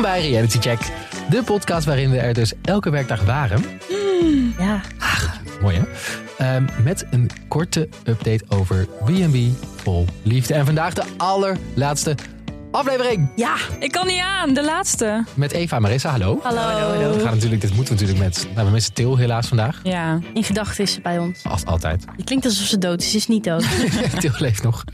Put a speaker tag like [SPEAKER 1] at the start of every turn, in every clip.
[SPEAKER 1] bij Reality Check. De podcast waarin we er dus elke werkdag waren.
[SPEAKER 2] Ja.
[SPEAKER 1] Mooi hè? Ehm, met een korte update over B&B Vol Liefde. En vandaag de allerlaatste aflevering
[SPEAKER 2] Ja.
[SPEAKER 3] Ik kan niet aan, de laatste.
[SPEAKER 1] met Eva en Marissa. Hallo.
[SPEAKER 2] Hallo.
[SPEAKER 1] We gaan natuurlijk, dit moeten we natuurlijk met, nou, we missen Til helaas vandaag.
[SPEAKER 3] Ja.
[SPEAKER 2] In gedachten is ze bij ons.
[SPEAKER 1] Als altijd.
[SPEAKER 2] Het klinkt alsof ze dood is. Ze is niet dood.
[SPEAKER 1] Til leeft nog.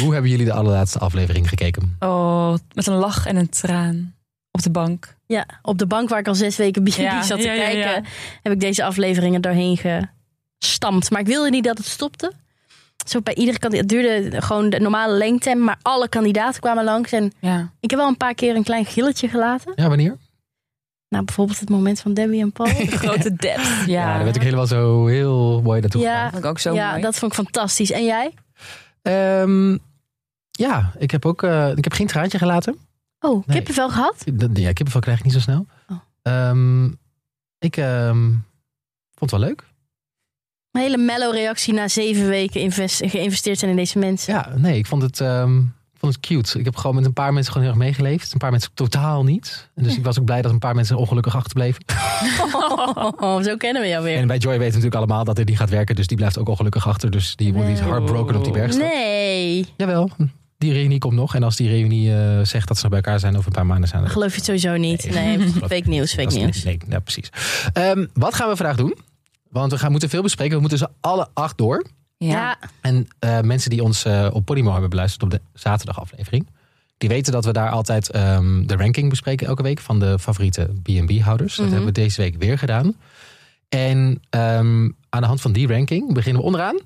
[SPEAKER 1] Hoe hebben jullie de allerlaatste aflevering gekeken?
[SPEAKER 3] Oh, met een lach en een traan op de bank.
[SPEAKER 2] ja. Op de bank waar ik al zes weken B&B
[SPEAKER 3] Ja,
[SPEAKER 2] zat te
[SPEAKER 3] ja, ja,
[SPEAKER 2] kijken...
[SPEAKER 3] ja.
[SPEAKER 2] heb ik deze afleveringen doorheen gestampt. Maar ik wilde niet dat het stopte. Zo bij iedere kandidaat. Het duurde gewoon de normale lengte. Maar alle kandidaten kwamen langs. En
[SPEAKER 3] Ja.
[SPEAKER 2] ik heb wel een paar keer een klein gilletje gelaten.
[SPEAKER 1] Ja, wanneer?
[SPEAKER 2] Nou, bijvoorbeeld het moment van Debbie en Paul.
[SPEAKER 3] De grote depth. Ja,
[SPEAKER 1] daar werd ik helemaal zo heel mooi naartoe
[SPEAKER 2] Ja.
[SPEAKER 1] gegaan.
[SPEAKER 3] vond ik ook zo
[SPEAKER 2] ja,
[SPEAKER 3] mooi.
[SPEAKER 2] dat vond ik fantastisch. En jij?
[SPEAKER 1] Ehm, ja, ik heb ook eh, ik heb geen traantje gelaten.
[SPEAKER 2] Oh,
[SPEAKER 1] Nee.
[SPEAKER 2] kippenvel gehad?
[SPEAKER 1] Dat- Ja, kippenvel krijg ik niet zo snel.
[SPEAKER 2] Oh.
[SPEAKER 1] Ehm, ik ehm, vond het wel leuk.
[SPEAKER 2] Een hele mellow reactie na zeven weken invest- geïnvesteerd zijn in deze mensen.
[SPEAKER 1] Ja, nee, ik vond het, ehm, ik vond het cute. Ik heb gewoon met een paar mensen gewoon heel erg meegeleefd. Een paar mensen totaal niet. En dus ik was ook blij dat een paar mensen ongelukkig achterbleven.
[SPEAKER 2] Oh, zo kennen we jou weer.
[SPEAKER 1] En bij Joy weten we natuurlijk allemaal dat dit niet gaat werken. Dus die blijft ook ongelukkig achter. Dus die wordt niet
[SPEAKER 2] Nee.
[SPEAKER 1] heartbroken op die berg.
[SPEAKER 2] Nee.
[SPEAKER 1] Jawel, die reunie komt nog. En als die reunie eh, zegt dat ze nog bij elkaar zijn over een paar maanden zijn...
[SPEAKER 2] Geloof je het sowieso niet. Nee, fake nieuws, fake
[SPEAKER 1] Dat is-
[SPEAKER 2] nieuws.
[SPEAKER 1] Nee, ja, precies. Ehm, wat gaan we vandaag doen? Want we gaan, moeten veel bespreken. We moeten ze alle acht door.
[SPEAKER 2] Ja,
[SPEAKER 1] En eh, mensen die ons eh, op Podimo hebben beluisterd op de zaterdagaflevering. Die weten dat we daar altijd ehm, de ranking bespreken elke week van de favoriete B&B-houders. Dat
[SPEAKER 2] Mhm.
[SPEAKER 1] hebben we deze week weer gedaan. En ehm, aan de hand van die ranking beginnen we onderaan.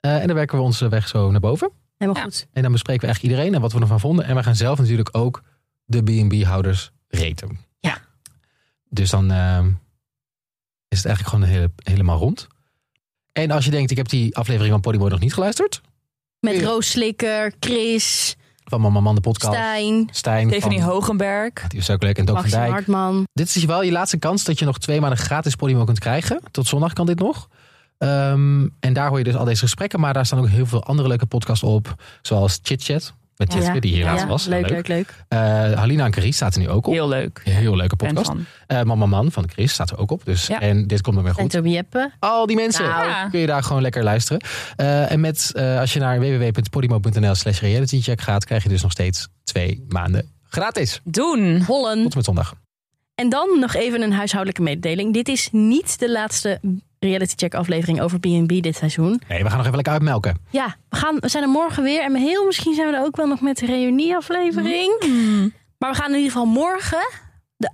[SPEAKER 1] Eh, en dan werken we ons eh, weg zo naar boven.
[SPEAKER 2] helemaal
[SPEAKER 3] Ja.
[SPEAKER 2] goed.
[SPEAKER 1] En dan bespreken we eigenlijk iedereen en wat we ervan vonden. En we gaan zelf natuurlijk ook de B&B-houders raten.
[SPEAKER 2] Ja.
[SPEAKER 1] Dus dan ehm, is het eigenlijk gewoon hele- helemaal rond. En als je denkt, ik heb die aflevering van Podimo nog niet geluisterd.
[SPEAKER 2] Met
[SPEAKER 1] Ja.
[SPEAKER 2] Roos Slikker, Chris,
[SPEAKER 1] Van Mama Man, de podcast.
[SPEAKER 2] Stijn,
[SPEAKER 1] Stijn.
[SPEAKER 3] Stephanie
[SPEAKER 1] van,
[SPEAKER 3] Hogenberg.
[SPEAKER 1] Die is ook leuk. En Doc van
[SPEAKER 2] Maxime
[SPEAKER 1] Dijk.
[SPEAKER 2] Hartman.
[SPEAKER 1] Dit is wel je laatste kans dat je nog twee maanden gratis Podimo kunt krijgen. Tot zondag kan dit nog. Ehm, en daar hoor je dus al deze gesprekken. Maar daar staan ook heel veel andere leuke podcasts op. Zoals Chit Chat. Met
[SPEAKER 2] Ja.
[SPEAKER 1] Jitske, die hier laatst
[SPEAKER 2] Ja,
[SPEAKER 1] was.
[SPEAKER 2] Leuk, leuk, leuk.
[SPEAKER 1] Eh, Halina en Caries staat er nu ook op.
[SPEAKER 3] Heel leuk.
[SPEAKER 1] Heel leuke
[SPEAKER 3] Ben
[SPEAKER 1] podcast.
[SPEAKER 3] van.
[SPEAKER 1] Eh, Mama Man van Chris staat er ook op. Dus,
[SPEAKER 3] Ja.
[SPEAKER 1] En dit komt dan weer
[SPEAKER 2] En
[SPEAKER 1] goed.
[SPEAKER 2] Toby Jeppe.
[SPEAKER 1] Al die mensen
[SPEAKER 2] Nou.
[SPEAKER 3] Ja.
[SPEAKER 1] kun je daar gewoon lekker luisteren. Eh, en met, eh, als je naar www.podimo.nl slash realitycheck gaat... krijg je dus nog steeds twee maanden gratis.
[SPEAKER 3] Doen.
[SPEAKER 2] Hollen.
[SPEAKER 1] Tot en met zondag.
[SPEAKER 2] En dan nog even een huishoudelijke mededeling. Dit is niet de laatste reality check aflevering over B&B dit seizoen.
[SPEAKER 1] Nee, we gaan nog even lekker uitmelken.
[SPEAKER 2] Ja, we, gaan, we zijn er morgen weer. En heel misschien zijn we er ook wel nog met de reunieaflevering.
[SPEAKER 3] Hmm.
[SPEAKER 2] Maar we gaan in ieder geval morgen de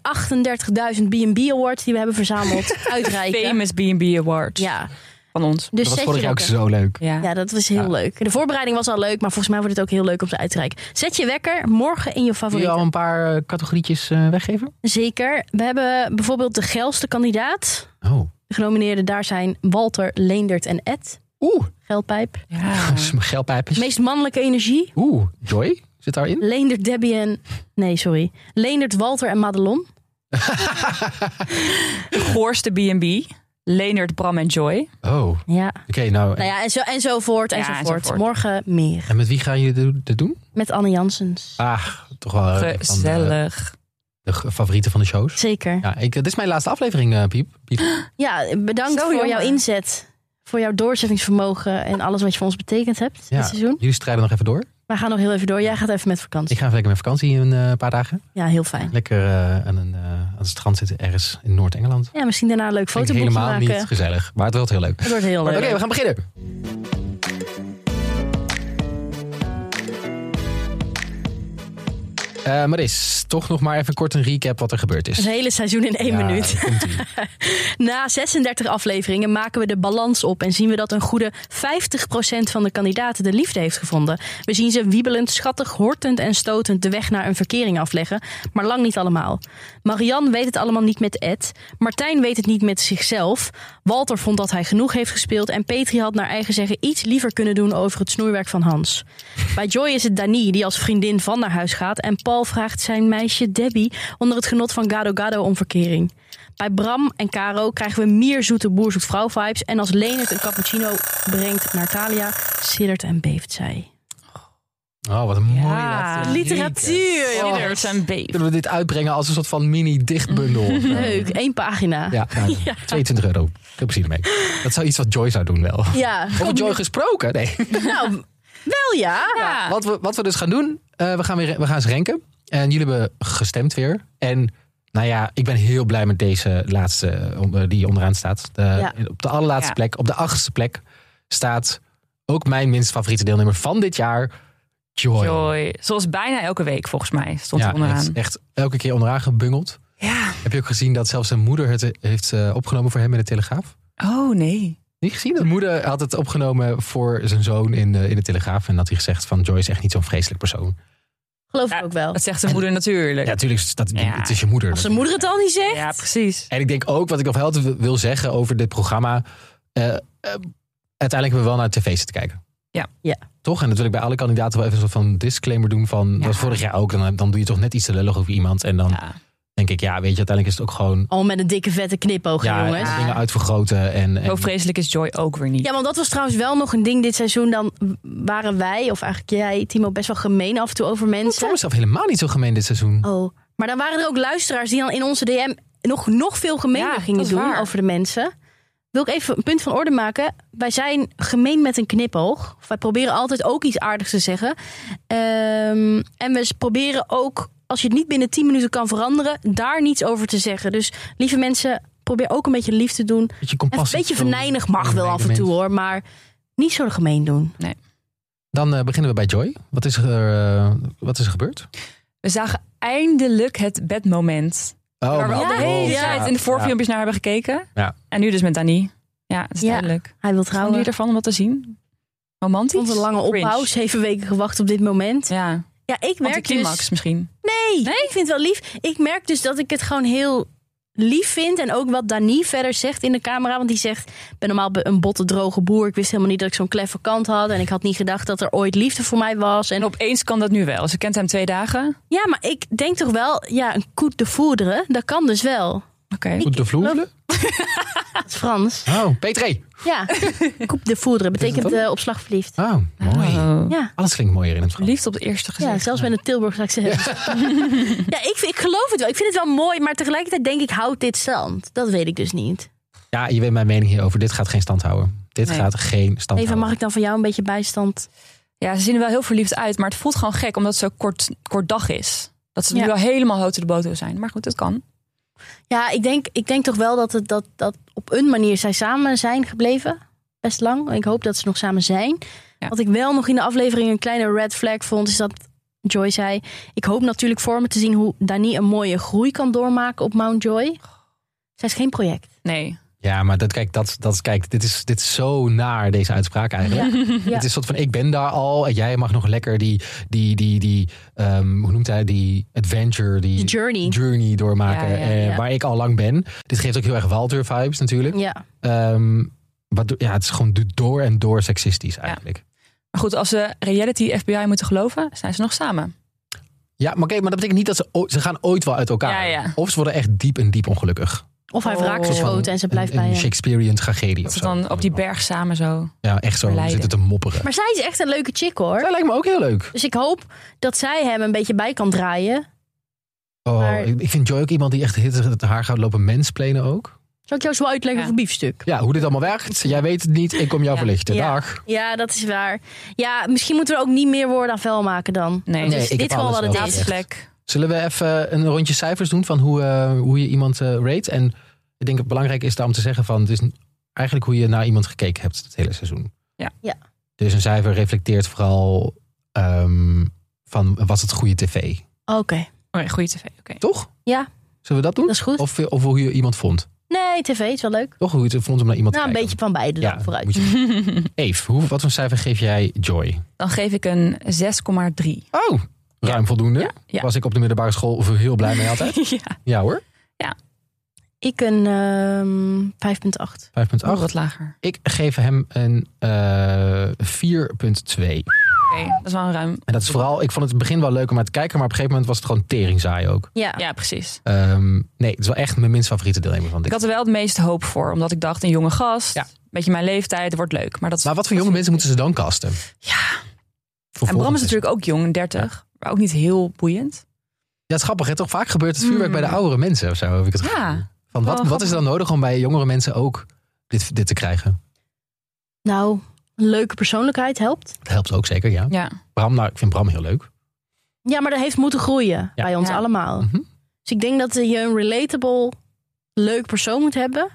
[SPEAKER 2] 38.000 B&B Awards die we hebben verzameld uitreiken.
[SPEAKER 3] Famous B&B Awards.
[SPEAKER 2] Ja,
[SPEAKER 3] Van ons.
[SPEAKER 2] dus
[SPEAKER 1] dat was
[SPEAKER 2] zet
[SPEAKER 1] vorig
[SPEAKER 2] je
[SPEAKER 1] jaar ook
[SPEAKER 2] wekker.
[SPEAKER 1] zo leuk.
[SPEAKER 3] Ja.
[SPEAKER 2] Ja, dat was heel
[SPEAKER 1] Ja.
[SPEAKER 2] leuk. De voorbereiding was al leuk, maar volgens mij wordt het ook heel leuk om te uitreiken. Zet je wekker morgen in
[SPEAKER 1] Wil
[SPEAKER 2] je
[SPEAKER 1] je
[SPEAKER 2] favoriete.
[SPEAKER 1] al een paar eh, categorietjes eh, weggeven?
[SPEAKER 2] Zeker. We hebben bijvoorbeeld de geilste kandidaat.
[SPEAKER 1] Oh.
[SPEAKER 2] De genomineerden daar zijn Walter, Leendert en Ed.
[SPEAKER 1] Oeh,
[SPEAKER 2] Geldpijp.
[SPEAKER 3] Ja.
[SPEAKER 1] geldpijpjes.
[SPEAKER 2] Meest mannelijke energie.
[SPEAKER 1] Oeh, Joy zit daarin.
[SPEAKER 2] Leendert, Debbie en... Nee, sorry. Leendert, Walter en Madelon.
[SPEAKER 3] De goorste B&B. Leonard, Bram en Joy.
[SPEAKER 1] Oh, oké,
[SPEAKER 2] Ja.
[SPEAKER 1] nou.
[SPEAKER 2] Nou ja, en, zo, enzovoort,
[SPEAKER 3] Ja,
[SPEAKER 2] enzovoort.
[SPEAKER 3] enzovoort.
[SPEAKER 2] Morgen meer.
[SPEAKER 1] En met wie gaan jullie dit- dit doen?
[SPEAKER 2] Met Anne Jansens.
[SPEAKER 1] Ah, toch wel. eh, van de,
[SPEAKER 3] Gezellig.
[SPEAKER 1] de g- favorieten van de shows.
[SPEAKER 2] Zeker.
[SPEAKER 1] Ja, ik, eh, dit is mijn laatste aflevering, eh, Piep. Piep.
[SPEAKER 2] Ja, bedankt
[SPEAKER 3] Zo,
[SPEAKER 2] voor
[SPEAKER 3] jongen.
[SPEAKER 2] jouw inzet. Voor jouw doorzettingsvermogen en alles wat je voor ons betekend hebt
[SPEAKER 1] Ja.
[SPEAKER 2] dit seizoen.
[SPEAKER 1] Jullie strijden nog even door.
[SPEAKER 2] Wij gaan nog heel even door. Jij gaat even met
[SPEAKER 1] Ik
[SPEAKER 2] vakantie.
[SPEAKER 1] ga even lekker met vakantie een eh, paar dagen.
[SPEAKER 2] Ja, heel fijn.
[SPEAKER 1] Lekker eh, aan, een, eh, aan het strand zitten ergens in Noord-Engeland.
[SPEAKER 2] Ja, misschien daarna een leuk
[SPEAKER 1] Vind ik
[SPEAKER 2] fotoboekje
[SPEAKER 1] helemaal
[SPEAKER 2] maken.
[SPEAKER 1] niet gezellig, maar het wordt heel leuk.
[SPEAKER 2] Dat wordt heel
[SPEAKER 1] Oké,
[SPEAKER 2] leuk.
[SPEAKER 1] we gaan beginnen. Eh Maris, toch nog maar even kort een recap wat er gebeurd is.
[SPEAKER 2] Het hele seizoen in één
[SPEAKER 1] Ja,
[SPEAKER 2] minuut.
[SPEAKER 1] komt-ie.
[SPEAKER 2] Na 36 afleveringen maken we de balans op en zien we dat een goede 50% van de kandidaten de liefde heeft gevonden. We zien ze wiebelend, schattig, hortend en stotend de weg naar een verkering afleggen, maar lang niet allemaal. Marianne weet het allemaal niet met Ed, Martijn weet het niet met zichzelf, Walter vond dat hij genoeg heeft gespeeld en Petri had naar eigen zeggen iets liever kunnen doen over het snoeiwerk van Hans. Bij Joy is het Dani die als vriendin van naar huis gaat en Paul vraagt zijn meisje Debbie onder het genot van Gado Gado om verkering. Bij Bram en Caro krijgen we meer zoete boer zoekt vrouw vibes. En als Leonard een cappuccino brengt naar Talia, siddert en beeft zij.
[SPEAKER 1] Oh, wat een mooie
[SPEAKER 3] Ja.
[SPEAKER 1] laatste.
[SPEAKER 2] Literatuur,
[SPEAKER 1] Oh.
[SPEAKER 2] joh.
[SPEAKER 3] Kinders en baby.
[SPEAKER 1] Kunnen we dit uitbrengen als een soort van mini-dichtbundel?
[SPEAKER 2] Leuk, één pagina.
[SPEAKER 1] Ja, nou, 22 euro. Veel plezier ermee. Dat zou iets wat Joy zou doen wel.
[SPEAKER 2] Ja,
[SPEAKER 1] Over Joy gesproken? Nee.
[SPEAKER 2] nou, wel ja.
[SPEAKER 3] Ja.
[SPEAKER 1] Wat, we, wat we dus gaan doen, eh, we, gaan weer, we gaan eens renken. En jullie hebben gestemd weer. En nou ja, ik ben heel blij met deze laatste eh, on- eh, die onderaan staat. De-
[SPEAKER 2] Ja.
[SPEAKER 1] Op de allerlaatste
[SPEAKER 3] Ja.
[SPEAKER 1] plek, op de achtste plek, staat ook mijn minst favoriete deelnemer van dit jaar, Joy.
[SPEAKER 3] Joy. Zoals bijna elke week volgens mij stond
[SPEAKER 1] Ja,
[SPEAKER 3] er onderaan.
[SPEAKER 1] het is echt elke keer onderaan gebungeld.
[SPEAKER 3] Ja.
[SPEAKER 1] Heb je ook gezien dat zelfs zijn moeder het eh, heeft eh, opgenomen voor hem in de Telegraaf?
[SPEAKER 3] Oh nee.
[SPEAKER 1] Niet gezien? De moeder had het opgenomen voor zijn zoon in de, in de Telegraaf. En had hij gezegd van Joy is echt niet zo'n vreselijk persoon.
[SPEAKER 2] Geloof
[SPEAKER 3] Ja,
[SPEAKER 2] ik ook wel.
[SPEAKER 3] Dat zegt de moeder natuurlijk.
[SPEAKER 1] Ja, natuurlijk, is dat,
[SPEAKER 3] Ja.
[SPEAKER 1] het is je moeder.
[SPEAKER 2] Als zijn moeder het al niet zegt.
[SPEAKER 3] Ja, precies.
[SPEAKER 1] En ik denk ook, wat ik nog wel altijd wil- wil zeggen over dit programma. eh, eh, uiteindelijk hebben we wel naar tv zitten kijken.
[SPEAKER 3] Ja.
[SPEAKER 2] Ja.
[SPEAKER 1] Toch? En dat wil ik bij alle kandidaten wel even een soort van disclaimer doen. Van,
[SPEAKER 3] Ja.
[SPEAKER 1] Dat was vorig jaar ook. Dan, dan doe je toch net iets te lullig over iemand. En dan
[SPEAKER 3] Ja.
[SPEAKER 1] denk ik, ja, weet je, uiteindelijk is het ook gewoon...
[SPEAKER 2] Al met een dikke vette knipoog,
[SPEAKER 1] Ja,
[SPEAKER 2] jongens.
[SPEAKER 3] ja.
[SPEAKER 1] dingen uitvergroten. En, en
[SPEAKER 3] Zo vreselijk is Joy ook weer niet.
[SPEAKER 2] Ja, want dat was trouwens wel nog een ding dit seizoen. Dan waren wij, of eigenlijk jij, Timo, best wel gemeen af en toe over
[SPEAKER 1] ik vond
[SPEAKER 2] mensen.
[SPEAKER 1] mezelf helemaal niet zo gemeen dit seizoen.
[SPEAKER 2] Oh, maar dan waren er ook luisteraars die dan in onze DM nog, nog veel gemener
[SPEAKER 3] Ja, dat
[SPEAKER 2] gingen
[SPEAKER 3] is
[SPEAKER 2] doen
[SPEAKER 3] waar.
[SPEAKER 2] over de mensen. Wil ik even een punt van orde maken? Wij zijn gemeen met een knipoog. Wij proberen altijd ook iets aardigs te zeggen. Ehm, en we s- proberen ook, als je het niet binnen 10 minuten kan veranderen, daar niets over te zeggen. Dus lieve mensen, probeer ook een beetje lief te doen.
[SPEAKER 1] Beetje
[SPEAKER 2] En een
[SPEAKER 1] compassie.
[SPEAKER 2] beetje
[SPEAKER 1] tonen.
[SPEAKER 2] venijnig mag wel af en toe hoor, maar niet zo gemeen doen.
[SPEAKER 1] Dan eh, beginnen we bij Joy. Wat is er, eh, wat is er gebeurd?
[SPEAKER 3] We zagen eindelijk het bedmoment.
[SPEAKER 1] Oh,
[SPEAKER 3] waar we
[SPEAKER 2] maar-
[SPEAKER 3] al de
[SPEAKER 2] Ja,
[SPEAKER 3] hele
[SPEAKER 2] ja.
[SPEAKER 3] tijd in de voorfilmpjes naar hebben gekeken.
[SPEAKER 1] Ja.
[SPEAKER 3] En nu dus met Dani. Ja, dat is
[SPEAKER 2] Ja.
[SPEAKER 3] duidelijk.
[SPEAKER 2] Hij wil
[SPEAKER 3] Houden
[SPEAKER 2] trouwen.
[SPEAKER 3] jullie ervan om dat te zien? Romantisch?
[SPEAKER 2] Onze lange
[SPEAKER 3] Cringe.
[SPEAKER 2] opbouw, zeven weken gewacht op dit moment.
[SPEAKER 3] Ja,
[SPEAKER 2] Ja, ik merk
[SPEAKER 3] anticlimax
[SPEAKER 2] dus...
[SPEAKER 3] misschien.
[SPEAKER 2] Nee, ik vind het wel lief. Ik merk dus dat ik het gewoon heel lief vind. En ook wat Dani verder zegt in de camera. Want die zegt, ik ben normaal be- een botte, droge boer. Ik wist helemaal niet dat ik zo'n kleffe kant had. En ik had niet gedacht dat er ooit liefde voor mij was.
[SPEAKER 3] En
[SPEAKER 2] En
[SPEAKER 3] opeens kan dat nu wel. Ze kent hem twee dagen. Oké.
[SPEAKER 2] ja, maar ik denk toch wel, ja, een koet de voederen, dat kan dus wel.
[SPEAKER 1] Goed de vloer.
[SPEAKER 2] Dat is Frans.
[SPEAKER 1] Oh, Petré.
[SPEAKER 2] Ja, koet de voederen betekent
[SPEAKER 1] ook?
[SPEAKER 2] eh, op slag verliefd.
[SPEAKER 1] Oh, mooi.
[SPEAKER 3] Oh.
[SPEAKER 2] Ja.
[SPEAKER 1] Alles klinkt mooier in het Frans.
[SPEAKER 3] Liefde op het eerste
[SPEAKER 2] Ja,
[SPEAKER 3] gezicht.
[SPEAKER 2] zelfs met een Tilburg accent. Ja, ik, vind- ik geloof het wel. Ik vind het wel mooi, maar tegelijkertijd denk ik, houdt dit stand? Dat weet ik dus niet.
[SPEAKER 1] Ja, je weet mijn mening hierover. Dit gaat geen stand houden. Dit
[SPEAKER 3] Nee.
[SPEAKER 1] gaat geen stand
[SPEAKER 2] Eva, mag
[SPEAKER 1] houden.
[SPEAKER 2] ik dan van jou een beetje bijstand?
[SPEAKER 3] Ja, ze zien er wel heel verliefd uit. Maar het voelt gewoon gek omdat het zo kort, kort dag is. Dat ze
[SPEAKER 2] Ja.
[SPEAKER 3] nu wel helemaal hout de boter zijn. Maar goed, dat kan.
[SPEAKER 2] Ja, ik denk, ik denk toch wel dat, het, dat, dat op een manier zij samen zijn gebleven. Best lang. Ik hoop dat ze nog samen zijn.
[SPEAKER 3] Ja.
[SPEAKER 2] Wat ik wel nog in de aflevering een kleine red flag vond, is dat Joy zei: Ik hoop natuurlijk voor me te zien hoe Dani een mooie groei kan doormaken op Mount Joy. Zij is geen project.
[SPEAKER 3] Nee.
[SPEAKER 1] Ja, maar dat, kijk, dat, dat, kijk dit, is, dit is zo naar, deze uitspraak eigenlijk. Het is een soort van, ik ben daar al en jij mag nog lekker die, die, die, die ehm, hoe noemt hij, die adventure, die
[SPEAKER 2] De journey.
[SPEAKER 1] journey doormaken.
[SPEAKER 3] Ja, ja,
[SPEAKER 1] eh,
[SPEAKER 2] ja.
[SPEAKER 1] waar ik al lang ben. Dit geeft ook heel erg Walter vibes natuurlijk.
[SPEAKER 2] Ja.
[SPEAKER 1] Ehm, waardoor- ja, het is gewoon do- door en door seksistisch eigenlijk.
[SPEAKER 3] Maar goed, als ze reality FBI moeten geloven, zijn ze nog samen.
[SPEAKER 1] Ja, maar oké, maar dat betekent niet dat ze, o- ze gaan ooit wel uit elkaar.
[SPEAKER 3] Ja, ja.
[SPEAKER 1] Of ze worden echt diep en diep ongelukkig.
[SPEAKER 2] Of hij heeft
[SPEAKER 3] Oh.
[SPEAKER 2] raakgeschoten en ze blijft
[SPEAKER 1] een,
[SPEAKER 2] bij eh,
[SPEAKER 1] een
[SPEAKER 2] hem.
[SPEAKER 1] Shakespearean tragedie
[SPEAKER 3] Dat
[SPEAKER 1] of
[SPEAKER 3] ze
[SPEAKER 1] zo.
[SPEAKER 3] dan op die berg samen zo.
[SPEAKER 1] Ja, echt zo.
[SPEAKER 3] Verleiden.
[SPEAKER 1] Zitten te mopperen.
[SPEAKER 2] Maar zij is echt een leuke chick hoor.
[SPEAKER 1] Dat lijkt me ook heel leuk.
[SPEAKER 2] Dus ik hoop dat zij hem een beetje bij kan draaien.
[SPEAKER 1] Oh,
[SPEAKER 2] Maar-
[SPEAKER 1] ik, ik vind Joy ook iemand die echt hit het haar gaat lopen mensplenen ook.
[SPEAKER 2] Zal ik jou zo uitleggen
[SPEAKER 3] Ja.
[SPEAKER 2] voor biefstuk?
[SPEAKER 1] Ja, hoe dit allemaal werkt. Jij weet het niet. Ik kom jou
[SPEAKER 3] Ja.
[SPEAKER 1] verlichten.
[SPEAKER 2] Ja.
[SPEAKER 1] Dag.
[SPEAKER 2] Ja, dat is waar. Ja, misschien moeten we er ook niet meer woorden aan vuil maken dan.
[SPEAKER 3] Nee.
[SPEAKER 2] Dat
[SPEAKER 3] Nee,
[SPEAKER 2] is
[SPEAKER 1] ik
[SPEAKER 2] dit
[SPEAKER 1] heb
[SPEAKER 2] gewoon
[SPEAKER 1] alles
[SPEAKER 2] wat het
[SPEAKER 1] wel
[SPEAKER 2] is.
[SPEAKER 1] gezegd.
[SPEAKER 3] Plek.
[SPEAKER 1] Zullen we even een rondje cijfers doen van hoe, eh, hoe je iemand eh, rate? En ik denk het belangrijk is daar om te zeggen van... het is eigenlijk hoe je naar iemand gekeken hebt het hele seizoen.
[SPEAKER 3] Ja.
[SPEAKER 2] Ja.
[SPEAKER 1] Dus een cijfer reflecteert vooral ehm, van was het goede tv,
[SPEAKER 2] Oké,
[SPEAKER 3] Oh, goede tv. Oké.
[SPEAKER 1] toch?
[SPEAKER 2] Ja.
[SPEAKER 1] Zullen we dat doen?
[SPEAKER 2] dat is goed.
[SPEAKER 1] Of, of hoe je iemand vond.
[SPEAKER 2] Nee, tv is wel leuk.
[SPEAKER 1] Toch hoe je het vond om naar iemand
[SPEAKER 2] Nou,
[SPEAKER 1] te
[SPEAKER 2] een
[SPEAKER 1] kijken.
[SPEAKER 2] beetje van beide dan vooruit.
[SPEAKER 1] moet je- Eve, hoe, wat voor cijfer geef jij Joy?
[SPEAKER 3] Dan geef ik een 6,3.
[SPEAKER 1] Oh, ruim voldoende.
[SPEAKER 3] ja.
[SPEAKER 1] Was ik op de middelbare school heel blij mee altijd.
[SPEAKER 3] ja.
[SPEAKER 1] ja hoor, 5,8.
[SPEAKER 2] Ik een ehm 5,8.
[SPEAKER 3] Oh, wat lager.
[SPEAKER 1] Ik geef hem een eh 4,2.
[SPEAKER 3] Oké, dat is wel een ruim.
[SPEAKER 1] En dat is vooral, ik vond het in het begin wel leuk om naar te kijken, maar op een gegeven moment was het gewoon teringzaai ook.
[SPEAKER 2] Ja.
[SPEAKER 3] Ja, precies.
[SPEAKER 1] Ehm, nee, het is wel echt mijn minst favoriete deelnemer van
[SPEAKER 3] Ik
[SPEAKER 1] dit.
[SPEAKER 3] had er wel het meeste hoop voor, omdat ik dacht, een jonge gast.
[SPEAKER 1] Ja.
[SPEAKER 3] Beetje mijn leeftijd, wordt leuk. Maar dat is
[SPEAKER 1] Maar wat voor jonge mensen moeten ze dan kasten?
[SPEAKER 3] Ja.
[SPEAKER 1] Voor
[SPEAKER 3] en Bram is
[SPEAKER 1] volgend
[SPEAKER 3] natuurlijk ook jong, 30. Maar ook niet heel boeiend.
[SPEAKER 1] Ja, het is grappig, hè? Toch vaak gebeurt het vuurwerk bij
[SPEAKER 3] Mm.
[SPEAKER 1] de oudere mensen of zo, heb ik het gevoel.
[SPEAKER 3] Ja.
[SPEAKER 1] Van
[SPEAKER 3] wel
[SPEAKER 1] wat, wat is
[SPEAKER 3] grappig.
[SPEAKER 1] dan nodig om bij jongere mensen ook dit, dit te krijgen?
[SPEAKER 2] Nou, een leuke persoonlijkheid helpt.
[SPEAKER 1] Dat helpt ook zeker, ja.
[SPEAKER 3] Ja.
[SPEAKER 1] Bram, nou, ik vind Bram heel leuk.
[SPEAKER 2] Ja, maar dat heeft moeten groeien
[SPEAKER 1] Ja.
[SPEAKER 2] bij ons
[SPEAKER 3] Ja.
[SPEAKER 2] allemaal.
[SPEAKER 1] Mhm.
[SPEAKER 2] Dus ik denk dat je een relatable, leuk persoon moet hebben.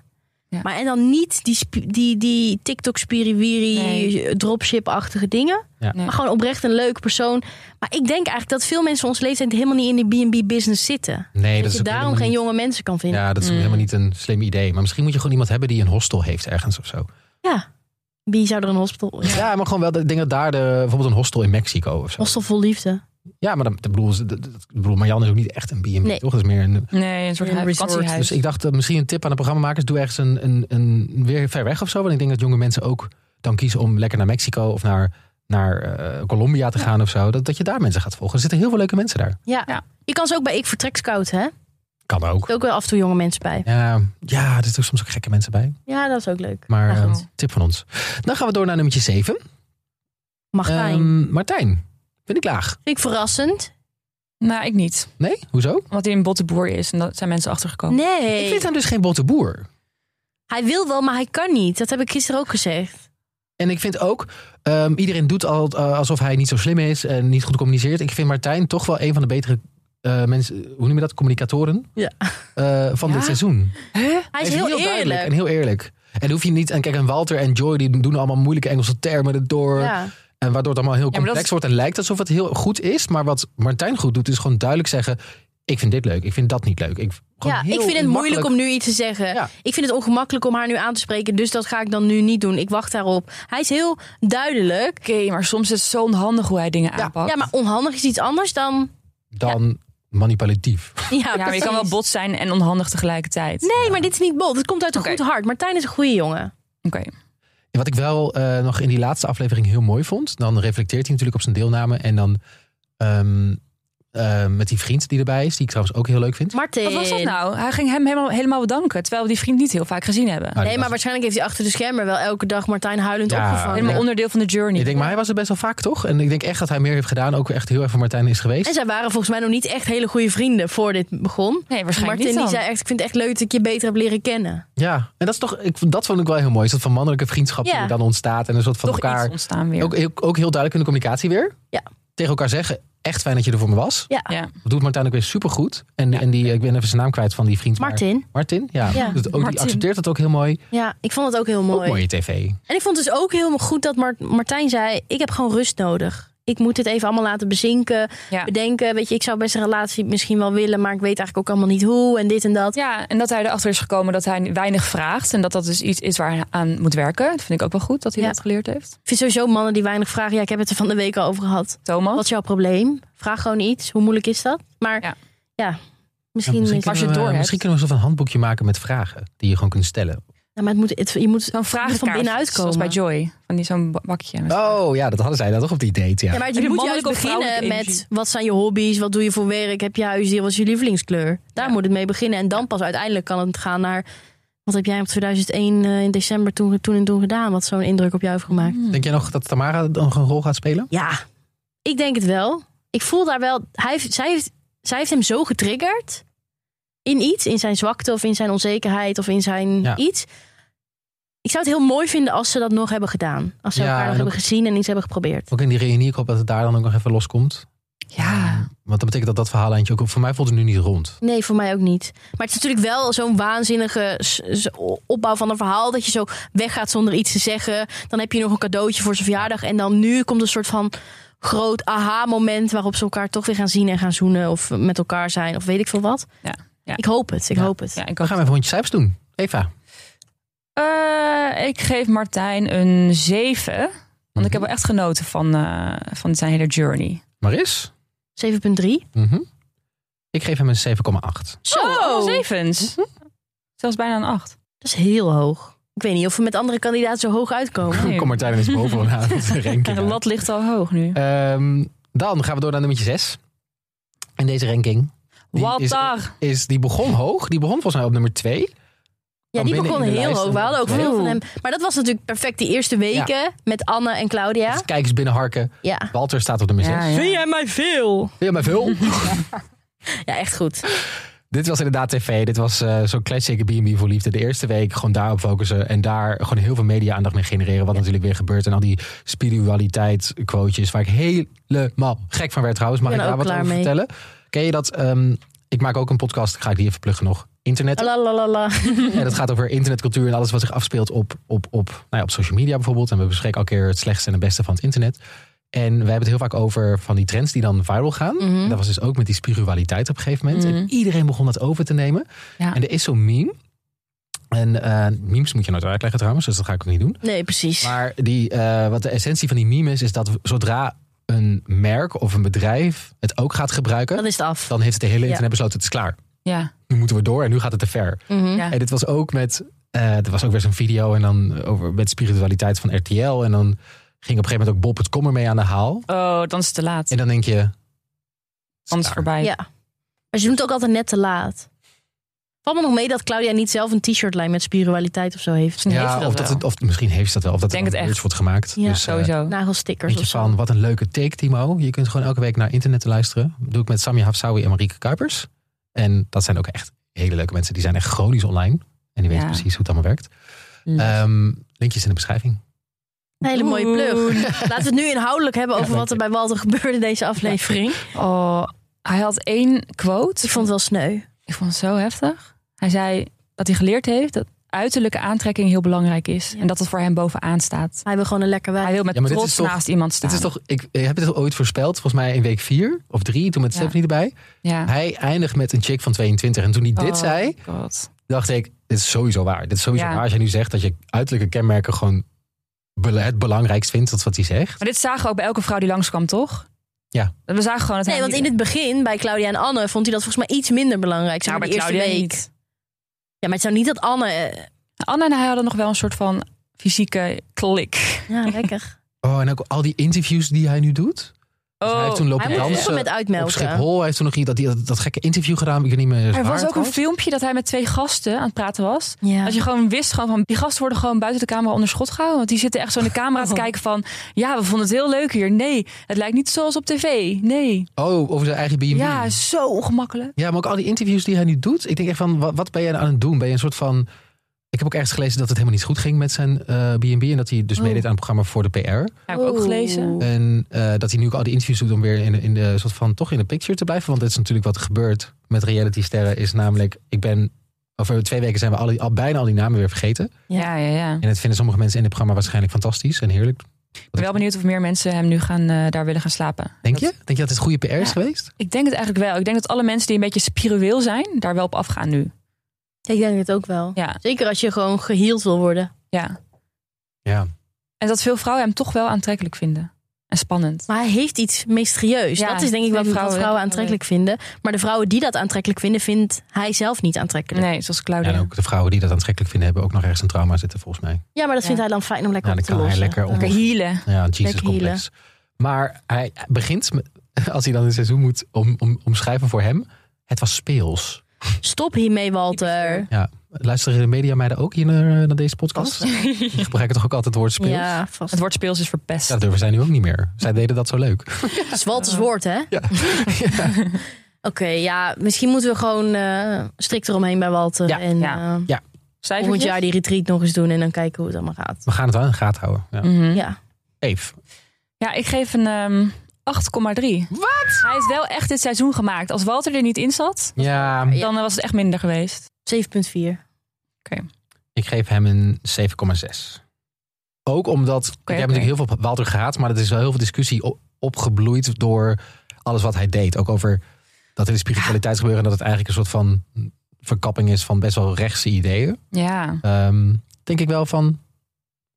[SPEAKER 3] Ja.
[SPEAKER 2] Maar en dan niet die, sp- die, die TikTok spiriwiri,
[SPEAKER 3] Nee.
[SPEAKER 2] dropship-achtige dingen.
[SPEAKER 1] Ja.
[SPEAKER 3] Nee.
[SPEAKER 2] Maar gewoon oprecht een leuk persoon. Maar ik denk eigenlijk dat veel mensen van ons leeftijd helemaal niet in die B&B-business zitten.
[SPEAKER 1] Nee,
[SPEAKER 2] dat,
[SPEAKER 1] dat is
[SPEAKER 2] je
[SPEAKER 1] ook
[SPEAKER 2] daarom
[SPEAKER 1] helemaal
[SPEAKER 2] geen
[SPEAKER 1] niet-
[SPEAKER 2] jonge mensen kan vinden.
[SPEAKER 1] Ja, dat is ook
[SPEAKER 3] Mm.
[SPEAKER 1] helemaal niet een slim idee. Maar misschien moet je gewoon iemand hebben die een hostel heeft ergens of zo.
[SPEAKER 2] Wie zou er een hospital...
[SPEAKER 1] Ja, maar gewoon wel, ik denk dat daar de, bijvoorbeeld een hostel in Mexico of zo.
[SPEAKER 2] Hostel vol liefde.
[SPEAKER 1] Ja, maar dan, ik bedoel, dat- dat- ik bedoel, Marianne is ook niet echt een B&B,
[SPEAKER 2] Nee.
[SPEAKER 1] toch? Dat is meer een...
[SPEAKER 3] Nee, een soort
[SPEAKER 2] Een
[SPEAKER 3] huis-
[SPEAKER 2] resort.
[SPEAKER 3] vakantiehuis.
[SPEAKER 1] Dus ik dacht, eh, misschien een tip aan de programmamakers, doe ergens een, een, een weer ver weg of zo. Want ik denk dat jonge mensen ook dan kiezen om lekker naar Mexico of naar, naar eh, Colombia te gaan of zo. Dat, dat je daar mensen gaat volgen. Er zitten heel veel leuke mensen daar.
[SPEAKER 2] Ja.
[SPEAKER 3] Ja.
[SPEAKER 2] Je kan ze ook bij Ik Vertrek scouten, hè? Er
[SPEAKER 1] Kan ook.
[SPEAKER 2] zitten ook wel af en toe jonge mensen bij.
[SPEAKER 1] Ja, ja, er zitten ook soms ook gekke mensen bij.
[SPEAKER 2] Ja, dat is ook leuk.
[SPEAKER 1] Maar
[SPEAKER 3] Ja,
[SPEAKER 1] eh,
[SPEAKER 3] goed.
[SPEAKER 1] tip van ons. Dan gaan we door naar nummertje 7.
[SPEAKER 2] Mag zijn.
[SPEAKER 1] Ehm. Martijn. Vind ik laag.
[SPEAKER 2] Vind ik verrassend.
[SPEAKER 3] Nou, ik niet.
[SPEAKER 1] Nee? Hoezo?
[SPEAKER 3] Omdat hij een botte boer is. En daar zijn mensen achtergekomen.
[SPEAKER 2] Nee.
[SPEAKER 1] Ik vind hem dus geen botte boer.
[SPEAKER 2] Hij wil wel, maar hij kan niet. Dat heb ik gisteren ook gezegd.
[SPEAKER 1] En ik vind ook, ehm, iedereen doet al, eh, alsof hij niet zo slim is en niet goed communiceert. Ik vind Martijn toch wel een van de betere eh, mensen, hoe noem je dat, communicatoren
[SPEAKER 2] Ja.
[SPEAKER 1] Eh, van
[SPEAKER 3] Ja?
[SPEAKER 1] dit seizoen.
[SPEAKER 2] Hij is, heel, eerlijk.
[SPEAKER 1] duidelijk en heel eerlijk. En dan hoef je niet, en kijk, en Walter en Joy die doen allemaal moeilijke Engelse termen erdoor.
[SPEAKER 3] eh,
[SPEAKER 2] Ja.
[SPEAKER 1] En waardoor het allemaal heel
[SPEAKER 3] maar dat
[SPEAKER 1] complex
[SPEAKER 3] is-
[SPEAKER 1] wordt en lijkt alsof het heel goed is. Maar wat Martijn goed doet, is gewoon duidelijk zeggen, ik vind dit leuk, ik vind dat niet leuk. Ik, gewoon
[SPEAKER 2] Ja,
[SPEAKER 1] heel
[SPEAKER 2] ik vind het
[SPEAKER 1] makkelijk-
[SPEAKER 2] moeilijk om nu iets te zeggen.
[SPEAKER 1] Ja.
[SPEAKER 2] Ik vind het ongemakkelijk om haar nu aan te spreken. Dus dat ga ik dan nu niet doen. Ik wacht daarop. Hij is heel duidelijk.
[SPEAKER 3] Oké, maar soms is het zo onhandig hoe hij dingen
[SPEAKER 1] Ja.
[SPEAKER 3] aanpakt.
[SPEAKER 2] Ja, maar onhandig is iets anders dan...
[SPEAKER 1] Dan manipulatief.
[SPEAKER 2] Ja,
[SPEAKER 3] Ja, maar je kan wel
[SPEAKER 2] precies.
[SPEAKER 3] bot zijn en onhandig tegelijkertijd.
[SPEAKER 2] Nee, maar dit is niet bot. Het komt uit een
[SPEAKER 3] Oké.
[SPEAKER 2] goed hart. Martijn is een goede jongen.
[SPEAKER 3] Oké.
[SPEAKER 1] Wat ik wel eh, nog in die laatste aflevering heel mooi vond. Dan reflecteert hij natuurlijk op zijn deelname. En dan ehm, eh, met die vriend die erbij is. Die ik trouwens ook heel leuk vind.
[SPEAKER 2] Martin.
[SPEAKER 3] Wat was dat nou? Hij ging hem helemaal, helemaal bedanken. Terwijl we die vriend niet heel vaak gezien hebben.
[SPEAKER 1] Nou, die
[SPEAKER 2] Nee, maar
[SPEAKER 1] was-
[SPEAKER 2] waarschijnlijk heeft hij achter de schermen wel elke dag Martijn huilend
[SPEAKER 1] Ja.
[SPEAKER 2] opgevangen.
[SPEAKER 3] helemaal
[SPEAKER 1] ja.
[SPEAKER 3] onderdeel van de journey.
[SPEAKER 1] ik denk, maar hij was er best wel vaak toch? En ik denk echt dat hij meer heeft gedaan. Ook echt heel erg voor Martijn is geweest.
[SPEAKER 2] En zij waren volgens mij nog niet echt hele goede vrienden voor dit begon.
[SPEAKER 3] Nee, waarschijnlijk
[SPEAKER 2] Martin die
[SPEAKER 3] niet dan.
[SPEAKER 2] zei echt, ik vind het echt leuk dat ik je beter heb leren kennen.
[SPEAKER 1] Ja, en dat, is toch, ik, vond- dat vond ik wel heel mooi. Een soort van mannelijke vriendschap die
[SPEAKER 2] Ja.
[SPEAKER 1] er dan ontstaat. En een soort van
[SPEAKER 3] Toch iets
[SPEAKER 1] elkaar.
[SPEAKER 3] ontstaan weer.
[SPEAKER 1] Ook, heel- ook heel duidelijk in de communicatie weer.
[SPEAKER 2] Ja.
[SPEAKER 1] Tegen elkaar zeggen. Echt fijn dat je er voor me was.
[SPEAKER 2] Ja,
[SPEAKER 3] Ja.
[SPEAKER 1] Dat doet Martijn ook weer supergoed. En, en die, ik ben even zijn naam kwijt van die vriend. maar-
[SPEAKER 2] Martin.
[SPEAKER 1] Martin, ja.
[SPEAKER 2] Ja.
[SPEAKER 1] Dus ook, die
[SPEAKER 3] Martin.
[SPEAKER 1] accepteert dat ook heel mooi.
[SPEAKER 2] Ja, ik vond het ook heel mooi.
[SPEAKER 1] Ook mooie tv.
[SPEAKER 2] En ik vond het dus ook heel goed dat Mar- Martijn zei, ik heb gewoon rust nodig. Ik moet dit even allemaal laten bezinken,
[SPEAKER 3] Ja.
[SPEAKER 2] bedenken. Weet je, ik zou best een relatie misschien wel willen, maar ik weet eigenlijk ook allemaal niet hoe en dit en dat.
[SPEAKER 3] ja, en dat hij erachter is gekomen dat hij weinig vraagt. En dat dat dus iets is waar hij aan moet werken. Dat vind ik ook wel goed dat hij
[SPEAKER 2] Ja.
[SPEAKER 3] dat geleerd heeft.
[SPEAKER 2] Ik vind sowieso mannen die weinig vragen. Ja, ik heb het er van de week al over gehad.
[SPEAKER 3] Thomas.
[SPEAKER 2] Wat is jouw probleem? Vraag gewoon iets. Hoe moeilijk is dat? Maar ja,
[SPEAKER 3] Ja.
[SPEAKER 2] misschien,
[SPEAKER 1] Ja, misschien,
[SPEAKER 2] is-
[SPEAKER 3] als je
[SPEAKER 1] kunnen
[SPEAKER 3] het
[SPEAKER 1] we,
[SPEAKER 3] doorhebt.
[SPEAKER 1] misschien kunnen we een soort van handboekje maken met vragen die je gewoon kunt stellen.
[SPEAKER 2] Ja, maar het moet, het, je moet
[SPEAKER 3] Zo'n vraag
[SPEAKER 2] van binnenuit
[SPEAKER 3] Zoals bij
[SPEAKER 2] komen.
[SPEAKER 3] Joy. Van die zo'n ba- bakje. met-
[SPEAKER 1] Oh ja, dat hadden zij dan toch op die date. Ja.
[SPEAKER 2] Ja, maar
[SPEAKER 3] En
[SPEAKER 2] je
[SPEAKER 3] de
[SPEAKER 2] moet juist
[SPEAKER 3] mannelijke of
[SPEAKER 2] beginnen
[SPEAKER 3] vrouwelijke
[SPEAKER 2] met
[SPEAKER 3] energie.
[SPEAKER 2] wat zijn je hobby's, wat doe je voor werk, heb je huisdier, wat is je lievelingskleur? Daar
[SPEAKER 3] Ja.
[SPEAKER 2] moet het mee beginnen. En dan pas uiteindelijk kan het gaan naar wat heb jij op 2001 eh, in december toen, toen en toen gedaan, wat zo'n indruk op jou heeft gemaakt.
[SPEAKER 1] Denk jij nog dat Tamara dan nog een rol gaat spelen?
[SPEAKER 2] Ja, ik denk het wel. Ik voel daar wel, hij heeft, zij, heeft, zij heeft hem zo getriggerd in iets, in zijn zwakte of in zijn onzekerheid of in zijn
[SPEAKER 1] Ja.
[SPEAKER 2] iets. Ik zou het heel mooi vinden als ze dat nog hebben gedaan. Als ze
[SPEAKER 1] Ja,
[SPEAKER 2] elkaar
[SPEAKER 1] en
[SPEAKER 2] nog hebben
[SPEAKER 1] ook-
[SPEAKER 2] gezien en iets hebben geprobeerd.
[SPEAKER 1] Ook in die reunie, ik hoop dat het daar dan ook nog even loskomt. Eh,
[SPEAKER 3] Ja.
[SPEAKER 1] Want dat betekent dat dat verhaallijntje ook voor mij voelt het nu niet rond.
[SPEAKER 2] Nee, voor mij ook niet. Maar het is natuurlijk wel zo'n waanzinnige s- s- opbouw van een verhaal. Dat je zo weggaat zonder iets te zeggen. Dan heb je nog een cadeautje voor zijn verjaardag. En dan nu komt een soort van groot aha-moment. waarop ze elkaar toch weer gaan zien en gaan zoenen. Of met elkaar zijn. Of weet ik veel wat.
[SPEAKER 3] Ja, ja.
[SPEAKER 2] Ik hoop het. Ik
[SPEAKER 1] Ja.
[SPEAKER 2] hoop het.
[SPEAKER 3] Ja,
[SPEAKER 1] Dan
[SPEAKER 3] ik, ook.
[SPEAKER 1] gaan we even rondje cijfers doen. Eva.
[SPEAKER 3] Eh, ik geef Martijn een 7. Want
[SPEAKER 1] Mhm.
[SPEAKER 3] ik heb wel echt genoten van, eh, van zijn hele journey.
[SPEAKER 1] Maris.
[SPEAKER 2] 7,3.
[SPEAKER 1] Mhm. Ik geef hem een 7,8.
[SPEAKER 2] Zo!
[SPEAKER 3] allemaal
[SPEAKER 2] dat
[SPEAKER 3] Oh, zevens. Mhm. Zelfs bijna een 8.
[SPEAKER 2] is heel hoog. Ik weet niet of we met andere kandidaat zo hoog uitkomen.
[SPEAKER 3] Nee.
[SPEAKER 1] Kom Martijn eens bovenaan de ranking.
[SPEAKER 3] De lat ligt al hoog nu.
[SPEAKER 1] Ehm, dan gaan we door naar nummertje 6. En deze ranking
[SPEAKER 3] Wat
[SPEAKER 1] is-
[SPEAKER 3] daar?
[SPEAKER 1] is, die begon hoog. Die begon volgens mij op nummer 2.
[SPEAKER 2] Ja,
[SPEAKER 1] kwam
[SPEAKER 2] die
[SPEAKER 1] binnen
[SPEAKER 2] begon
[SPEAKER 1] in de
[SPEAKER 2] heel
[SPEAKER 1] lijst
[SPEAKER 2] hoog.
[SPEAKER 1] en
[SPEAKER 2] We hadden ook
[SPEAKER 1] tweede.
[SPEAKER 2] veel van hem. Maar dat was natuurlijk perfect die eerste weken met Anne en Claudia.
[SPEAKER 1] Dus kijkers binnenharken.
[SPEAKER 2] Ja.
[SPEAKER 1] Walter staat op de nummer 6.
[SPEAKER 3] Ja, ja. Vind
[SPEAKER 2] jij mij veel?
[SPEAKER 1] Vind je mij veel?
[SPEAKER 2] Ja, echt goed.
[SPEAKER 1] Dit was inderdaad tv. Dit was eh, zo'n classic B&B voor liefde. De eerste week gewoon daarop focussen. En daar gewoon heel veel media-aandacht mee genereren. Wat natuurlijk weer gebeurt. En al die spiritualiteit-quotejes. Waar ik helemaal gek van werd trouwens. Mag
[SPEAKER 2] Ik
[SPEAKER 1] ik
[SPEAKER 2] ben
[SPEAKER 1] daar
[SPEAKER 2] er
[SPEAKER 1] wat over
[SPEAKER 2] ook klaar mee.
[SPEAKER 1] vertellen? Ken je dat? ehm, ik maak ook een podcast. Ga ik die even pluggen nog. Internet.
[SPEAKER 2] Lalalala.
[SPEAKER 1] Ja, dat gaat over internetcultuur en alles wat zich afspeelt op, op, op, nou ja, op social media bijvoorbeeld. En we bespreken elke keer het slechtste en het beste van het internet. En we hebben het heel vaak over van die trends die dan viral gaan.
[SPEAKER 2] Mhm.
[SPEAKER 3] Hm?
[SPEAKER 1] En dat was dus ook met die spiritualiteit op een gegeven moment.
[SPEAKER 3] Mhm.
[SPEAKER 1] En iedereen begon dat over te nemen.
[SPEAKER 3] Ja.
[SPEAKER 1] En er is zo'n meme. En eh, memes moet je nooit uitleggen trouwens, dus dat ga ik ook niet doen.
[SPEAKER 2] Nee, precies.
[SPEAKER 1] Maar die, eh, wat de essentie van die meme is, is dat zodra een merk of een bedrijf het ook gaat gebruiken,
[SPEAKER 2] Dan is het af.
[SPEAKER 1] dan heeft het de hele
[SPEAKER 2] Ja.
[SPEAKER 1] internet besloten, het is klaar.
[SPEAKER 3] Ja.
[SPEAKER 1] Nu moeten we door en nu gaat het te ver.
[SPEAKER 2] Mhm.
[SPEAKER 3] Ja.
[SPEAKER 1] En dit was ook met. eh, er was ook weer zo'n video en dan over met spiritualiteit van RTL. En dan ging op een gegeven moment ook Bob het Kommer mee aan de haal.
[SPEAKER 3] Oh, dan is het te laat.
[SPEAKER 1] En dan denk je.
[SPEAKER 3] Anders
[SPEAKER 1] daar.
[SPEAKER 3] voorbij.
[SPEAKER 2] Ja. Maar ze doen het ook altijd net te laat. Valt me nog mee dat Claudia niet zelf een t-shirtlijn met spiritualiteit of zo heeft.
[SPEAKER 3] Misschien Dus heeft
[SPEAKER 1] Ja,
[SPEAKER 3] ze dat
[SPEAKER 1] of, dat
[SPEAKER 3] wel.
[SPEAKER 1] het, of misschien heeft ze dat wel. Of dat
[SPEAKER 3] Denk
[SPEAKER 1] er
[SPEAKER 3] het
[SPEAKER 1] een
[SPEAKER 3] echt.
[SPEAKER 1] merch wordt gemaakt.
[SPEAKER 2] Ja,
[SPEAKER 1] dus, eh,
[SPEAKER 3] Sowieso.
[SPEAKER 2] Nagelstickers
[SPEAKER 1] Weet
[SPEAKER 2] of
[SPEAKER 1] je
[SPEAKER 2] zo.
[SPEAKER 1] van, wat een leuke take, Timo. Je kunt gewoon elke week naar internet te luisteren. Dat doe ik met Samia Hafsawi en Marieke Kuipers. En dat zijn ook echt hele leuke mensen. Die zijn echt chronisch online. En die weten
[SPEAKER 3] Ja.
[SPEAKER 1] precies hoe het allemaal werkt.
[SPEAKER 3] Mm.
[SPEAKER 1] Ehm, linkjes in de beschrijving.
[SPEAKER 2] Een hele mooie plug. Laten we het nu inhoudelijk hebben over
[SPEAKER 1] Ja,
[SPEAKER 2] wat er bij Walter gebeurde in deze aflevering.
[SPEAKER 3] Oh, hij had één quote.
[SPEAKER 2] Ik vond het wel sneu.
[SPEAKER 3] Ik vond het zo heftig. Hij zei dat hij geleerd heeft dat uiterlijke aantrekking heel belangrijk is.
[SPEAKER 2] Ja.
[SPEAKER 3] En dat het voor hem bovenaan staat.
[SPEAKER 2] Hij wil gewoon een lekker
[SPEAKER 3] Hij
[SPEAKER 2] wijf.
[SPEAKER 3] wil met
[SPEAKER 1] Ja, maar dit
[SPEAKER 3] trots
[SPEAKER 1] is toch-
[SPEAKER 3] naast iemand staan.
[SPEAKER 1] Dit is toch, ik, ik heb dit ooit voorspeld, volgens mij in week 4 of 3, toen met
[SPEAKER 3] Ja.
[SPEAKER 1] Stephanie erbij.
[SPEAKER 3] Ja.
[SPEAKER 1] Hij eindigt met een chick van 22. En toen hij dit
[SPEAKER 3] Oh,
[SPEAKER 1] zei,
[SPEAKER 3] God.
[SPEAKER 1] dacht ik, dit is sowieso waar. Dit is sowieso
[SPEAKER 3] Ja.
[SPEAKER 1] waar als je nu zegt dat je uiterlijke kenmerken gewoon bele- het belangrijkst vindt. Dat is wat hij zegt.
[SPEAKER 3] Maar dit zagen we ook bij elke vrouw die langskwam, toch?
[SPEAKER 1] Ja.
[SPEAKER 3] We zagen gewoon dat
[SPEAKER 2] Nee,
[SPEAKER 3] hij
[SPEAKER 2] want
[SPEAKER 3] niet-
[SPEAKER 2] in het begin bij Claudia en Anne vond hij dat volgens mij iets minder belangrijk. Zeg
[SPEAKER 3] Nou,
[SPEAKER 2] maar
[SPEAKER 3] bij
[SPEAKER 2] de eerste
[SPEAKER 3] Claudia
[SPEAKER 2] week.
[SPEAKER 3] niet.
[SPEAKER 2] Ja, maar het zou niet dat Anne. eh,
[SPEAKER 3] Anne en hij hadden nog wel een soort van fysieke
[SPEAKER 1] Dus
[SPEAKER 3] klik.
[SPEAKER 2] ja, lekker.
[SPEAKER 1] Oh, en ook al die interviews die hij nu doet. Dus hij
[SPEAKER 3] Oh,
[SPEAKER 1] heeft toen lopen
[SPEAKER 2] Hij moet
[SPEAKER 1] dansen
[SPEAKER 2] stoppen
[SPEAKER 1] eh,
[SPEAKER 2] met
[SPEAKER 1] Op
[SPEAKER 2] uitmelken.
[SPEAKER 1] Schiphol hij heeft toen nog dat, die- dat, dat gekke interview gedaan. Ik weet niet meer
[SPEAKER 3] er
[SPEAKER 1] waar
[SPEAKER 3] was
[SPEAKER 1] het
[SPEAKER 3] ook een filmpje dat hij met twee gasten aan het praten was.
[SPEAKER 2] Ja.
[SPEAKER 3] Als je gewoon wist gewoon van die gasten worden gewoon buiten de camera onder schot gehouden. Want die zitten echt zo in de camera te
[SPEAKER 2] Oh.
[SPEAKER 3] kijken van ja, we vonden het heel leuk hier. Nee, het lijkt niet zoals op tv. Nee.
[SPEAKER 1] Oh, over zijn eigen B&B.
[SPEAKER 3] Ja, zo ongemakkelijk.
[SPEAKER 1] Ja, maar ook al die interviews die hij nu doet. Ik denk echt van, wat, wat ben jij nou aan het doen? Ben je een soort van... Ik heb ook ergens gelezen dat het helemaal niet goed ging met zijn eh, B&B. en dat hij dus
[SPEAKER 3] Oh.
[SPEAKER 1] meedeed aan het programma voor de PR.
[SPEAKER 3] Heb ik ook
[SPEAKER 2] Oeh.
[SPEAKER 3] gelezen.
[SPEAKER 1] En eh, dat hij nu ook al die interviews doet om weer in, in de soort van toch in de picture te blijven. Want dat is natuurlijk wat er gebeurt met reality sterren. Is namelijk, ik ben. Over twee weken zijn we al, die- al bijna al die namen weer vergeten.
[SPEAKER 3] Ja, ja, ja.
[SPEAKER 1] En dat vinden sommige mensen in het programma waarschijnlijk fantastisch en heerlijk.
[SPEAKER 3] Ik ben wel benieuwd of meer mensen hem nu gaan, eh, daar willen gaan slapen.
[SPEAKER 1] Denk
[SPEAKER 3] Dat-
[SPEAKER 1] je? Denk je dat het goede PR is
[SPEAKER 3] Ja. Oh,
[SPEAKER 1] geweest?
[SPEAKER 3] Ik denk het eigenlijk wel. Ik denk dat alle mensen die een beetje spiritueel zijn, daar wel op afgaan nu.
[SPEAKER 2] Ik denk het ook wel.
[SPEAKER 3] Ja,
[SPEAKER 2] Zeker als je gewoon geheeld wil worden.
[SPEAKER 3] ja.
[SPEAKER 1] Ja.
[SPEAKER 3] En dat veel vrouwen hem toch wel aantrekkelijk vinden. En spannend.
[SPEAKER 2] Maar hij heeft iets mysterieus.
[SPEAKER 3] Ja,
[SPEAKER 2] dat is denk ik
[SPEAKER 3] nee,
[SPEAKER 2] wat vrouwen,
[SPEAKER 3] vrouwen
[SPEAKER 2] vrouwen
[SPEAKER 3] vinden het wel
[SPEAKER 2] aantrekkelijk vinden. Maar de vrouwen die dat aantrekkelijk vinden, vindt hij zelf niet aantrekkelijk.
[SPEAKER 3] Nee, zoals Claudia.
[SPEAKER 1] En ook de vrouwen die dat aantrekkelijk vinden, hebben ook nog ergens een trauma zitten, volgens mij.
[SPEAKER 2] Ja, maar dat
[SPEAKER 3] Ja.
[SPEAKER 2] vindt hij dan fijn om lekker
[SPEAKER 1] Ja,
[SPEAKER 2] op
[SPEAKER 1] dan
[SPEAKER 2] te
[SPEAKER 1] kan hij
[SPEAKER 2] lossen.
[SPEAKER 1] lekker
[SPEAKER 2] Ja.
[SPEAKER 1] om-
[SPEAKER 3] Lekker healen.
[SPEAKER 1] Ja, Jesus
[SPEAKER 2] Lekker
[SPEAKER 1] complex. Maar hij begint met, als hij dan een seizoen moet om, om, omschrijven voor hem. Het was speels.
[SPEAKER 2] Stop hiermee, Walter.
[SPEAKER 1] Luisteren de media meiden ook hier naar, naar deze podcast? Die gebruiken toch ook altijd het woord speels?
[SPEAKER 2] Ja, vast.
[SPEAKER 3] Het woord speels is
[SPEAKER 1] Ja,
[SPEAKER 3] verpest.
[SPEAKER 1] dat durven zij nu ook niet meer. Zij deden dat zo leuk.
[SPEAKER 2] Het is Walters woord, hè?
[SPEAKER 1] Ja.
[SPEAKER 2] Oké, ja, misschien moeten we gewoon eh strikt eromheen bij Walter.
[SPEAKER 1] Ja.
[SPEAKER 2] en
[SPEAKER 3] Ja.
[SPEAKER 2] eh, volgend
[SPEAKER 3] Cijfertjes?
[SPEAKER 2] jaar die retreat nog eens doen en dan kijken hoe het allemaal gaat.
[SPEAKER 1] We gaan het wel in de gaten houden. Ja.
[SPEAKER 3] Mhm.
[SPEAKER 2] Ja.
[SPEAKER 1] Eve.
[SPEAKER 3] Ja, ik geef een ehm, 8,3. Wat? Hij is wel echt dit seizoen gemaakt. Als Walter er niet in zat,
[SPEAKER 1] Ja,
[SPEAKER 2] Ja.
[SPEAKER 3] dan eh, was het echt minder geweest.
[SPEAKER 2] 7,4.
[SPEAKER 1] ik geef hem een 7,6. Ook omdat, ik heb
[SPEAKER 3] oké.
[SPEAKER 1] natuurlijk heel veel op Walter gehaat, maar dat is wel heel veel discussie op- opgebloeid door alles wat hij deed. Ook over dat er de spiritualiteit gebeuren en dat het eigenlijk een soort van verkapping is van best wel rechtse ideeën.
[SPEAKER 3] Ja,
[SPEAKER 1] Ehm, denk ik wel van,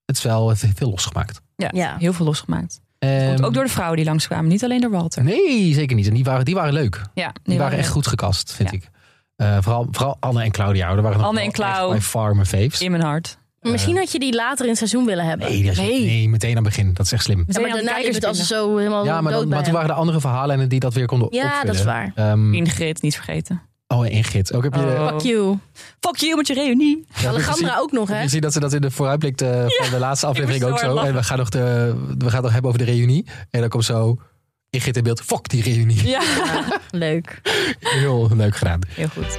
[SPEAKER 1] het is wel het heeft veel losgemaakt.
[SPEAKER 3] ja,
[SPEAKER 2] Ja.
[SPEAKER 3] heel veel losgemaakt. Komt
[SPEAKER 1] Ehm,
[SPEAKER 3] ook door de vrouwen die langskwamen, niet alleen door Walter.
[SPEAKER 1] Nee, zeker niet. En die waren, die waren leuk.
[SPEAKER 3] Ja,
[SPEAKER 1] Die, waren, echt goed gekast, vind ik. Eh, vooral, vooral Anne en Claudia. hoor. Er waren nog
[SPEAKER 3] Anne
[SPEAKER 1] wel
[SPEAKER 3] en Clau.
[SPEAKER 1] echt Bij Farm faves.
[SPEAKER 3] in mijn hart.
[SPEAKER 2] Maar Misschien had je die later in het seizoen willen hebben.
[SPEAKER 1] Nee, dat is-
[SPEAKER 3] Nee.
[SPEAKER 1] nee, meteen aan het begin. Dat is echt slim.
[SPEAKER 2] Ja, maar daarna is het als ze zo helemaal
[SPEAKER 1] Ja, maar,
[SPEAKER 2] dood
[SPEAKER 1] dan,
[SPEAKER 2] bij
[SPEAKER 1] maar toen
[SPEAKER 2] hem.
[SPEAKER 1] waren er andere verhalen die dat weer konden
[SPEAKER 2] Ja,
[SPEAKER 1] opvullen.
[SPEAKER 2] dat is waar.
[SPEAKER 1] Ehm,
[SPEAKER 3] Ingrid niet vergeten.
[SPEAKER 1] Oh, en gids. Ook heb je...
[SPEAKER 3] Oh.
[SPEAKER 2] Fuck you.
[SPEAKER 3] Fuck you met je reunie.
[SPEAKER 1] Ja, heb je gezien-
[SPEAKER 2] Alejandra ook nog, hè?
[SPEAKER 1] Je ziet dat ze dat in de vooruitblik eh, van de laatste aflevering
[SPEAKER 3] moest
[SPEAKER 1] ook
[SPEAKER 3] heel
[SPEAKER 1] zo.
[SPEAKER 3] hard
[SPEAKER 1] En we gaan, nog de, we gaan het nog hebben over de reunie. En dan komt zo Ingrid in beeld. Fuck die reunie.
[SPEAKER 3] Ja,
[SPEAKER 2] Leuk.
[SPEAKER 1] Heel leuk gedaan.
[SPEAKER 3] heel goed.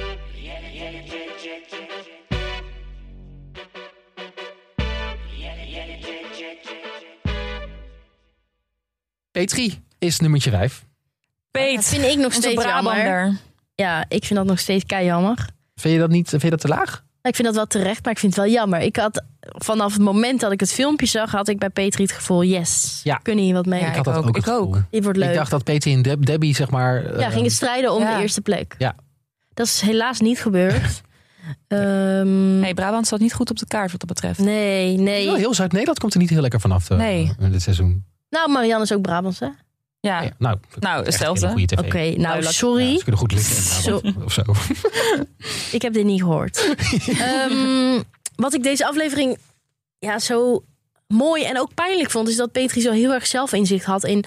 [SPEAKER 1] P3 is nummertje 5.
[SPEAKER 2] Dat
[SPEAKER 3] Peet,
[SPEAKER 2] vind ik nog
[SPEAKER 3] onze
[SPEAKER 2] steeds jammer.
[SPEAKER 3] Brabander.
[SPEAKER 2] Ja, ik vind dat nog steeds kei jammer.
[SPEAKER 1] Vind je dat, niet, vind je dat te laag?
[SPEAKER 2] Ik vind dat wel terecht, maar ik vind het wel jammer. Ik had vanaf het moment dat ik het filmpje zag, had ik bij Petri het gevoel, yes,
[SPEAKER 1] Ja.
[SPEAKER 2] we kunnen hier wat mee.
[SPEAKER 3] Ja,
[SPEAKER 1] ik had dat
[SPEAKER 3] ook.
[SPEAKER 1] ook. het
[SPEAKER 3] Ik ook.
[SPEAKER 1] gevoel.
[SPEAKER 2] Dit wordt leuk.
[SPEAKER 1] Ik dacht dat P3 en Deb- Debbie, zeg maar...
[SPEAKER 2] ja,
[SPEAKER 1] eh,
[SPEAKER 2] ging het strijden om
[SPEAKER 3] ja.
[SPEAKER 2] de eerste plek.
[SPEAKER 1] Ja.
[SPEAKER 2] Dat is helaas niet gebeurd. Ehm,
[SPEAKER 3] Nee, Brabant staat niet goed op de kaart wat dat betreft.
[SPEAKER 2] nee, nee.
[SPEAKER 1] Wel, heel Zuid-Nederland komt er niet heel lekker vanaf eh,
[SPEAKER 3] Nee.
[SPEAKER 1] in dit seizoen.
[SPEAKER 2] Nou, Marianne is ook Brabants, hè? Oké,
[SPEAKER 3] Ja,
[SPEAKER 1] Ja, nou,
[SPEAKER 3] nou,
[SPEAKER 1] echt
[SPEAKER 3] hetzelfde.
[SPEAKER 1] hele goede tv.
[SPEAKER 2] nou,
[SPEAKER 3] Duidelijk.
[SPEAKER 1] Ja,
[SPEAKER 2] sorry.
[SPEAKER 1] ze kunnen goed liggen in Brabant of zo.
[SPEAKER 2] Ik heb dit niet gehoord. Ehm, wat ik deze aflevering ja, zo mooi en ook pijnlijk vond, is dat Petri zo heel erg zelfinzicht had in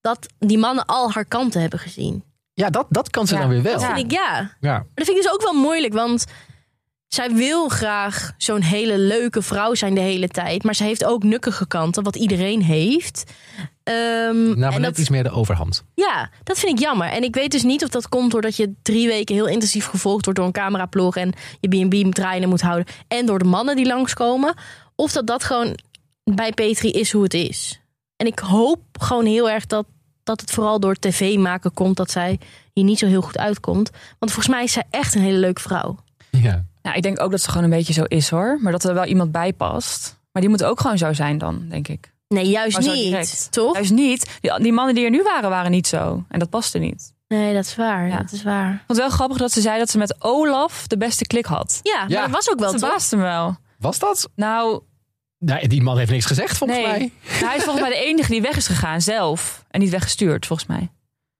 [SPEAKER 2] dat die mannen al haar kanten hebben gezien.
[SPEAKER 1] Ja, dat, dat kan ze
[SPEAKER 3] Ja,
[SPEAKER 1] dan weer wel.
[SPEAKER 3] dat
[SPEAKER 1] Ja.
[SPEAKER 2] Vind ik, ja. Maar dat vind ik dus ook wel moeilijk, want zij wil graag zo'n hele leuke vrouw zijn de hele tijd, maar ze heeft ook nukkige kanten, wat iedereen heeft. Ehm,
[SPEAKER 1] Nou, maar
[SPEAKER 2] en
[SPEAKER 1] net
[SPEAKER 2] dat,
[SPEAKER 1] iets meer de overhand.
[SPEAKER 2] ja, dat vind ik jammer. En ik weet dus niet of dat komt doordat je drie weken heel intensief gevolgd wordt door een cameraploeg en je B&B moet draaien en moet houden. En door de mannen die langskomen. Of dat dat gewoon bij Petri is hoe het is. En ik hoop gewoon heel erg dat, dat het vooral door tv maken komt dat zij hier niet zo heel goed uitkomt. Want volgens mij is zij echt een hele leuke vrouw.
[SPEAKER 1] Ja.
[SPEAKER 3] Nou, ik denk ook dat ze gewoon een beetje zo is hoor. Maar dat er wel iemand bij past. Maar die moet ook gewoon zo zijn dan, denk ik.
[SPEAKER 2] Nee, juist
[SPEAKER 3] Maar zo
[SPEAKER 2] niet.
[SPEAKER 3] direct.
[SPEAKER 2] Toch?
[SPEAKER 3] Juist niet. Die, die mannen die er nu waren, waren niet zo. En dat paste niet.
[SPEAKER 2] Nee, dat is waar.
[SPEAKER 3] Ja.
[SPEAKER 2] Dat is waar.
[SPEAKER 3] Ik vond het wel grappig dat ze zei dat ze met Olaf de beste klik had.
[SPEAKER 2] Ja, maar
[SPEAKER 1] Ja.
[SPEAKER 2] dat was ook wel
[SPEAKER 3] dat
[SPEAKER 2] toch?
[SPEAKER 3] verbaasde me wel.
[SPEAKER 1] Was dat?
[SPEAKER 3] Nou,
[SPEAKER 1] Nee, die man heeft niks gezegd volgens
[SPEAKER 3] nee.
[SPEAKER 1] mij.
[SPEAKER 3] Nou, hij is volgens mij de enige die weg is gegaan zelf. En niet weggestuurd, volgens mij.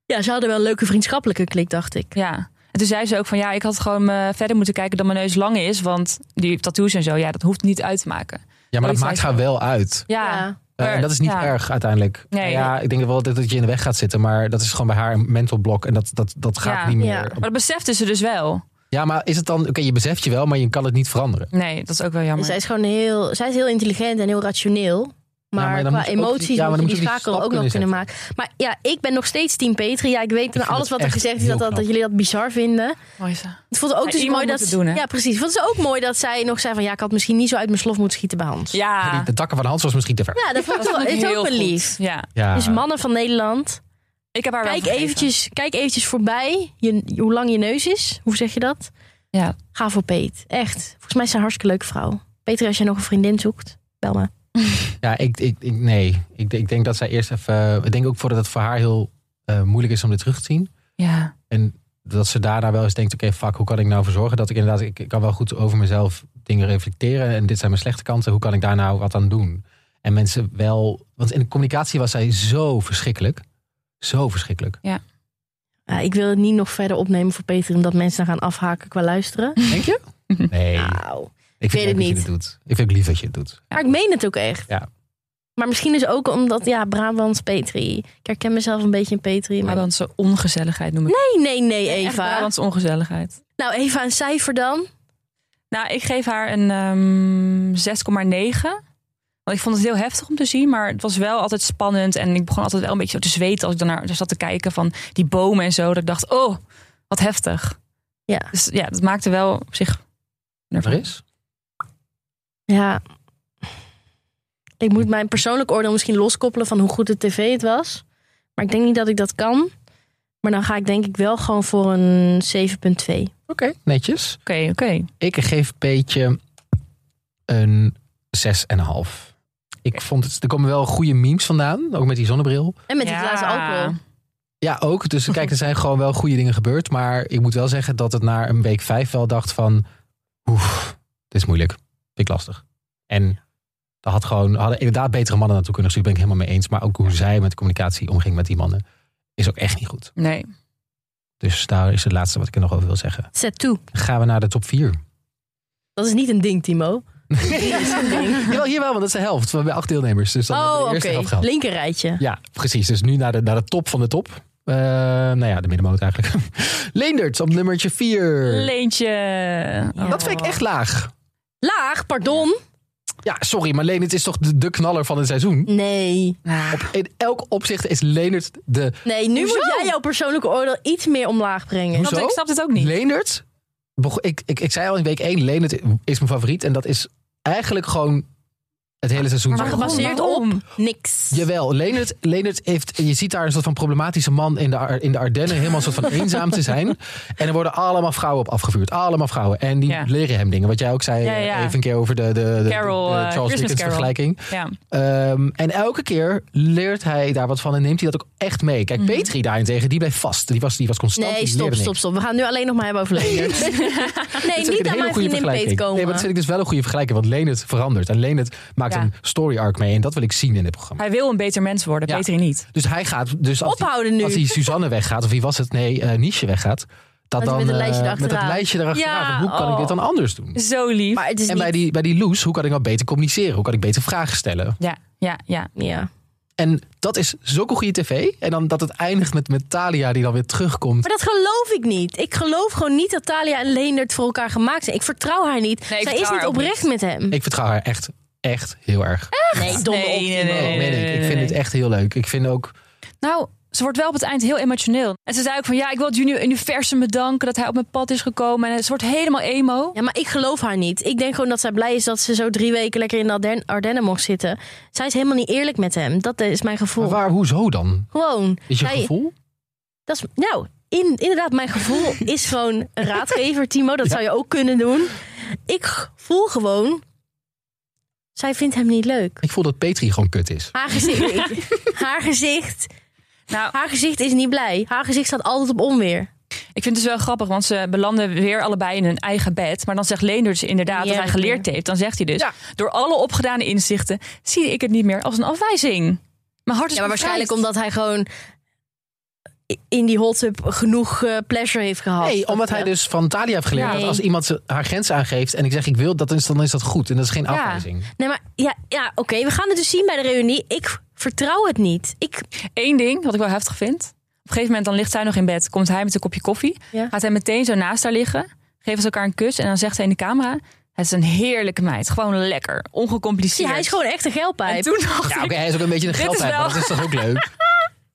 [SPEAKER 2] Ja, ze hadden wel een leuke vriendschappelijke klik, dacht ik.
[SPEAKER 3] Ja. En toen zei ze ook van ja, ik had gewoon eh, verder moeten kijken dat mijn neus lang is. Want die tattoos en zo, ja, dat hoeft niet uit te maken.
[SPEAKER 1] Ja, maar dat
[SPEAKER 3] Ooit
[SPEAKER 1] maakt
[SPEAKER 3] zei
[SPEAKER 1] haar
[SPEAKER 3] ze-
[SPEAKER 1] wel uit.
[SPEAKER 3] Ja.
[SPEAKER 1] Eh,
[SPEAKER 3] Maar-
[SPEAKER 1] en dat is niet
[SPEAKER 3] ja.
[SPEAKER 1] erg uiteindelijk.
[SPEAKER 3] Nee.
[SPEAKER 1] Ja, ik denk wel dat dat je in de weg gaat zitten. Maar dat is gewoon bij haar een mental blok. En dat, dat, dat gaat
[SPEAKER 3] Ja.
[SPEAKER 1] niet meer.
[SPEAKER 2] Ja.
[SPEAKER 1] Ja.
[SPEAKER 3] Maar dat besefte ze dus wel.
[SPEAKER 1] maar is het dan... Oké, je beseft je wel, maar je kan het niet veranderen.
[SPEAKER 3] Nee, dat is ook wel jammer.
[SPEAKER 2] Dus Zij is gewoon heel, zij is heel intelligent en heel rationeel.
[SPEAKER 1] maar
[SPEAKER 2] Maar,
[SPEAKER 1] dan moet
[SPEAKER 2] qua
[SPEAKER 1] je ook die- ja,
[SPEAKER 2] emoties
[SPEAKER 1] maar
[SPEAKER 2] moet
[SPEAKER 1] dan
[SPEAKER 2] je
[SPEAKER 1] moet
[SPEAKER 2] die
[SPEAKER 1] je ook die
[SPEAKER 2] schakel
[SPEAKER 1] stap
[SPEAKER 2] ook nog kunnen
[SPEAKER 1] kunnen
[SPEAKER 2] maken. Maar ja, ik ben nog steeds team Petri. Ja, ik weet
[SPEAKER 1] vind
[SPEAKER 2] van alles
[SPEAKER 1] het
[SPEAKER 2] wat er
[SPEAKER 1] echt
[SPEAKER 2] gezegd is
[SPEAKER 1] heel
[SPEAKER 2] dat, dat, dat
[SPEAKER 1] knap.
[SPEAKER 2] jullie dat bizar vinden.
[SPEAKER 3] Mooi zo.
[SPEAKER 2] Het voelde ook
[SPEAKER 3] Ja,
[SPEAKER 2] dus
[SPEAKER 3] iemand
[SPEAKER 2] mooi
[SPEAKER 3] moet
[SPEAKER 2] dat
[SPEAKER 3] het doen, hè?
[SPEAKER 2] ja, precies. Vond ze ook mooi dat zij nog zei van ja, ik had misschien niet zo uit mijn slof moeten schieten bij Hans.
[SPEAKER 3] Ja.
[SPEAKER 1] De takken van Hans was misschien te ver.
[SPEAKER 2] Ja, dat vond ik wel, het is ook wel lief.
[SPEAKER 3] Ja.
[SPEAKER 1] Ja.
[SPEAKER 2] Dus mannen van Nederland,
[SPEAKER 3] Ik heb haar wel
[SPEAKER 2] kijk
[SPEAKER 3] vergeven.
[SPEAKER 2] eventjes, kijk eventjes voorbij je, hoe lang je neus is. Hoe zeg je dat?
[SPEAKER 3] Ja.
[SPEAKER 2] Ga voor Peet. Echt. Volgens mij is ze een hartstikke leuke vrouw. Peter, als jij nog een vriendin zoekt, bel me.
[SPEAKER 1] Ja, ik, ik, ik- nee. Ik, ik denk dat zij eerst even... eh, ik denk ook voordat het voor haar heel eh, moeilijk is om dit terug te zien.
[SPEAKER 3] Ja.
[SPEAKER 1] En dat ze daarna wel eens denkt, oké, fuck, hoe kan ik nou voor zorgen dat ik inderdaad, ik, ik kan wel goed over mezelf dingen reflecteren en dit zijn mijn slechte kanten, hoe kan ik daar nou wat aan doen? En mensen wel, want in de communicatie was zij zo verschrikkelijk. Zo verschrikkelijk.
[SPEAKER 2] Ja, ik wil het niet nog verder opnemen voor Peter, omdat mensen dan gaan afhaken qua luisteren.
[SPEAKER 1] Denk je? Nee.
[SPEAKER 2] Nou,
[SPEAKER 1] ik
[SPEAKER 2] weet
[SPEAKER 1] vind
[SPEAKER 2] het
[SPEAKER 1] leuk dat je
[SPEAKER 2] niet.
[SPEAKER 1] dit doet. Ik vind het lief dat je het doet.
[SPEAKER 2] maar ik meen het ook echt.
[SPEAKER 1] Ja.
[SPEAKER 2] Maar misschien is ook omdat, ja, Brabant, Petri. Ik herken mezelf een beetje in Petri. Maar...
[SPEAKER 3] Brabantse ongezelligheid noem ik het.
[SPEAKER 2] Nee, nee, nee,
[SPEAKER 3] Echt
[SPEAKER 2] Eva.
[SPEAKER 3] Brabantse ongezelligheid.
[SPEAKER 2] Nou, Eva, een cijfer dan.
[SPEAKER 3] Nou, ik geef haar een ehm, 6,9. Want ik vond het heel heftig om te zien, maar het was wel altijd spannend. En ik begon altijd wel een beetje zo te zweten als ik daarnaar zat te kijken van die bomen en zo. Dat ik dacht, oh, wat heftig.
[SPEAKER 2] Ja.
[SPEAKER 3] Dus ja, dat maakte wel op zich
[SPEAKER 1] Er
[SPEAKER 3] nerveus.
[SPEAKER 1] is?
[SPEAKER 2] Ja. Ik moet mijn persoonlijk oordeel misschien loskoppelen van hoe goed de tv het was. Maar ik denk niet dat ik dat kan. Maar dan ga ik denk ik wel gewoon voor een 7.2.
[SPEAKER 1] Oké, netjes.
[SPEAKER 3] Oké, oké.
[SPEAKER 1] Ik geef Peetje een 6,5. Ik vond het, er komen wel goede memes vandaan, ook met die zonnebril.
[SPEAKER 2] En met die
[SPEAKER 3] Ja.
[SPEAKER 2] glazen alcohol.
[SPEAKER 1] Ja, ook. Dus kijk, er zijn gewoon wel goede dingen gebeurd. Maar ik moet wel zeggen dat het na een week vijf wel dacht van... Oef, dit is moeilijk. Vind ik lastig. En daar had gewoon, hadden inderdaad betere mannen naartoe kunnen sturen. Ben ik helemaal mee eens. Maar ook hoe zij met de communicatie omging met die mannen... is ook echt niet goed.
[SPEAKER 3] Nee.
[SPEAKER 1] Dus daar is het laatste wat ik er nog over wil zeggen.
[SPEAKER 2] Zet toe.
[SPEAKER 1] Dan gaan we naar de top vier.
[SPEAKER 2] Dat is niet een ding, Timo.
[SPEAKER 1] Jawel, hier wel, want dat is de helft. We hebben acht deelnemers. Dus dan hebben we
[SPEAKER 2] oh,
[SPEAKER 1] de
[SPEAKER 2] oké.
[SPEAKER 1] eerste helft gehad.
[SPEAKER 2] Linkerrijtje.
[SPEAKER 1] Ja, precies. Dus nu naar de, naar de top van de top. Eh, nou ja, de middenmoot eigenlijk. Leendert op nummertje 4.
[SPEAKER 3] Leentje. Oh.
[SPEAKER 1] dat vind ik echt laag.
[SPEAKER 2] Laag, pardon.
[SPEAKER 1] Ja, sorry, maar Leendert is toch de, de knaller van het seizoen?
[SPEAKER 2] Nee.
[SPEAKER 3] Ah.
[SPEAKER 1] In elk opzicht is Leendert de...
[SPEAKER 2] Nee, nu
[SPEAKER 3] Hoezo?
[SPEAKER 2] moet jij jouw persoonlijke oordeel iets meer omlaag brengen.
[SPEAKER 1] Hoezo?
[SPEAKER 3] Want Ik snap het ook niet.
[SPEAKER 1] Leendert... beg- Ik, ik, ik zei al in week 1, Leendert is mijn favoriet. En dat is eigenlijk gewoon het hele seizoen.
[SPEAKER 2] Maar
[SPEAKER 1] zo.
[SPEAKER 3] waarom?
[SPEAKER 2] gebaseerd
[SPEAKER 3] Waarom?
[SPEAKER 2] op niks.
[SPEAKER 1] Jawel, Leendert, Leendert heeft, je ziet daar een soort van problematische man in de, Ar- in de Ardennen, helemaal een soort van eenzaam te zijn. En er worden allemaal vrouwen op afgevuurd. Allemaal vrouwen. En die
[SPEAKER 3] Ja.
[SPEAKER 1] leren hem dingen. Wat jij ook zei
[SPEAKER 3] Ja, ja.
[SPEAKER 1] eh, even een keer over de, de, de,
[SPEAKER 3] Carol,
[SPEAKER 1] de
[SPEAKER 3] eh,
[SPEAKER 1] Charles
[SPEAKER 3] Christmas
[SPEAKER 1] Dickens
[SPEAKER 3] Carol.
[SPEAKER 1] vergelijking.
[SPEAKER 3] Ja.
[SPEAKER 1] Ehm, en elke keer leert hij daar wat van en neemt hij dat ook echt mee. Kijk, Petri daarentegen, die bleef vast. Die was, die was constant.
[SPEAKER 2] Mm. Nee,
[SPEAKER 1] die
[SPEAKER 2] stop,
[SPEAKER 1] leerde
[SPEAKER 2] stop,
[SPEAKER 1] niks.
[SPEAKER 2] stop. We gaan nu alleen nog maar hebben over Leendert. nee,
[SPEAKER 1] Dat vind ik
[SPEAKER 2] niet
[SPEAKER 1] een
[SPEAKER 2] aan
[SPEAKER 1] hele
[SPEAKER 2] mijn
[SPEAKER 1] goede
[SPEAKER 2] vriendin Peet
[SPEAKER 1] vergelijking.
[SPEAKER 2] komen.
[SPEAKER 1] Nee, maar dat vind ik dus wel een goede vergelijking. Want Leendert verandert. En Leendert maakt
[SPEAKER 3] Ja.
[SPEAKER 1] een story arc mee. En dat wil ik zien in dit programma.
[SPEAKER 3] Hij wil een beter mens worden,
[SPEAKER 1] Ja.
[SPEAKER 3] beter niet.
[SPEAKER 1] Dus hij gaat... Dus als hij-
[SPEAKER 2] Ophouden nu.
[SPEAKER 1] Als die Suzanne weggaat, of wie was het? Nee, eh Niesje weggaat. Dat
[SPEAKER 2] hij
[SPEAKER 1] dan
[SPEAKER 2] met
[SPEAKER 1] eh,
[SPEAKER 2] een lijstje
[SPEAKER 1] met dat
[SPEAKER 2] erachteraan.
[SPEAKER 1] lijstje erachteraan.
[SPEAKER 2] Ja,
[SPEAKER 1] van hoe kan ik
[SPEAKER 2] oh.
[SPEAKER 1] dit dan anders doen?
[SPEAKER 3] Zo lief.
[SPEAKER 2] Maar het is
[SPEAKER 1] En bij
[SPEAKER 2] niet...
[SPEAKER 1] die, bij die Loes, hoe kan ik nou beter communiceren? Hoe kan ik beter vragen stellen?
[SPEAKER 3] Ja, ja, ja.
[SPEAKER 2] Ja.
[SPEAKER 1] En dat is zulke goede tv. En dan dat het eindigt met, met Talia die dan weer terugkomt.
[SPEAKER 2] Maar dat geloof ik niet. Ik geloof gewoon niet dat Talia en Leendert voor elkaar gemaakt zijn. Ik vertrouw haar niet.
[SPEAKER 3] Nee, ik
[SPEAKER 2] Zij is
[SPEAKER 3] vertrouw
[SPEAKER 2] niet
[SPEAKER 3] haar ook
[SPEAKER 2] oprecht met hem.
[SPEAKER 1] Ik vertrouw haar echt, echt heel erg.
[SPEAKER 2] Nee, domme
[SPEAKER 3] Nee,
[SPEAKER 2] op.
[SPEAKER 3] nee, nee,
[SPEAKER 1] Oh, meen
[SPEAKER 3] nee, nee,
[SPEAKER 1] ik.
[SPEAKER 3] nee,
[SPEAKER 1] ik vind
[SPEAKER 3] nee.
[SPEAKER 1] het echt heel leuk. Ik vind ook...
[SPEAKER 3] Nou, ze wordt wel op het eind heel emotioneel. En ze zei ook van, ja, ik wil het uni- universum bedanken dat hij op mijn pad is gekomen. En ze wordt helemaal emo.
[SPEAKER 2] Ja, maar ik geloof haar niet. Ik denk gewoon dat zij blij is dat ze zo drie weken lekker in de Arden- Ardennen mocht zitten. Zij is helemaal niet eerlijk met hem. Dat is mijn
[SPEAKER 1] Maar
[SPEAKER 2] gevoel.
[SPEAKER 1] waar, hoezo dan?
[SPEAKER 2] Gewoon.
[SPEAKER 1] Is je
[SPEAKER 2] Zij-
[SPEAKER 1] gevoel?
[SPEAKER 2] Dat is, nou, in, inderdaad, mijn gevoel is gewoon een raadgever, Timo. Dat zou je ook kunnen doen. Ik voel gewoon... Zij vindt hem niet leuk.
[SPEAKER 1] Ik voel dat Petri gewoon kut is.
[SPEAKER 2] Haar gezicht, haar gezicht,
[SPEAKER 3] Nou,
[SPEAKER 2] haar gezicht is niet blij. Haar gezicht staat altijd op onweer.
[SPEAKER 3] ik vind het dus wel grappig, want ze belanden weer allebei in hun eigen bed. Maar dan zegt Leendert dus inderdaad
[SPEAKER 2] Ja,
[SPEAKER 3] dat hij
[SPEAKER 2] ik
[SPEAKER 3] geleerd heeft. Dan zegt hij dus, door alle opgedane inzichten zie ik het niet meer als een afwijzing. Mijn hart is
[SPEAKER 2] Ja, maar waarschijnlijk
[SPEAKER 3] bevrijd.
[SPEAKER 2] omdat hij gewoon in die hot tub genoeg eh, pleasure heeft gehad.
[SPEAKER 1] Nee, omdat hij dus van Talia heeft geleerd
[SPEAKER 3] Ja.
[SPEAKER 1] dat als iemand ze- haar grens aangeeft en ik zeg ik wil, dat is, dan is dat goed. En dat is geen
[SPEAKER 3] Ja.
[SPEAKER 1] afwijzing.
[SPEAKER 2] eh, Nee, maar ja, ja oké, we gaan het dus zien bij de reunie. Ik vertrouw het niet. Ik,
[SPEAKER 3] Eén ding wat ik wel heftig vind. Op een gegeven moment dan ligt zij nog in bed. Komt hij met een kopje koffie.
[SPEAKER 2] Ja.
[SPEAKER 3] Gaat hij meteen zo naast haar liggen. Geven ze elkaar een kus. En dan zegt hij in de camera. Het is een heerlijke meid. Gewoon lekker.
[SPEAKER 2] zie,
[SPEAKER 3] Ongecompliceerd.
[SPEAKER 2] hij is gewoon echt een
[SPEAKER 3] En
[SPEAKER 2] geldpijp.
[SPEAKER 3] toen dacht
[SPEAKER 1] Ja,
[SPEAKER 3] ik,
[SPEAKER 1] oké, hij is ook een beetje een
[SPEAKER 3] is
[SPEAKER 1] geldheid, maar
[SPEAKER 3] wel-
[SPEAKER 1] dat is toch ook leuk?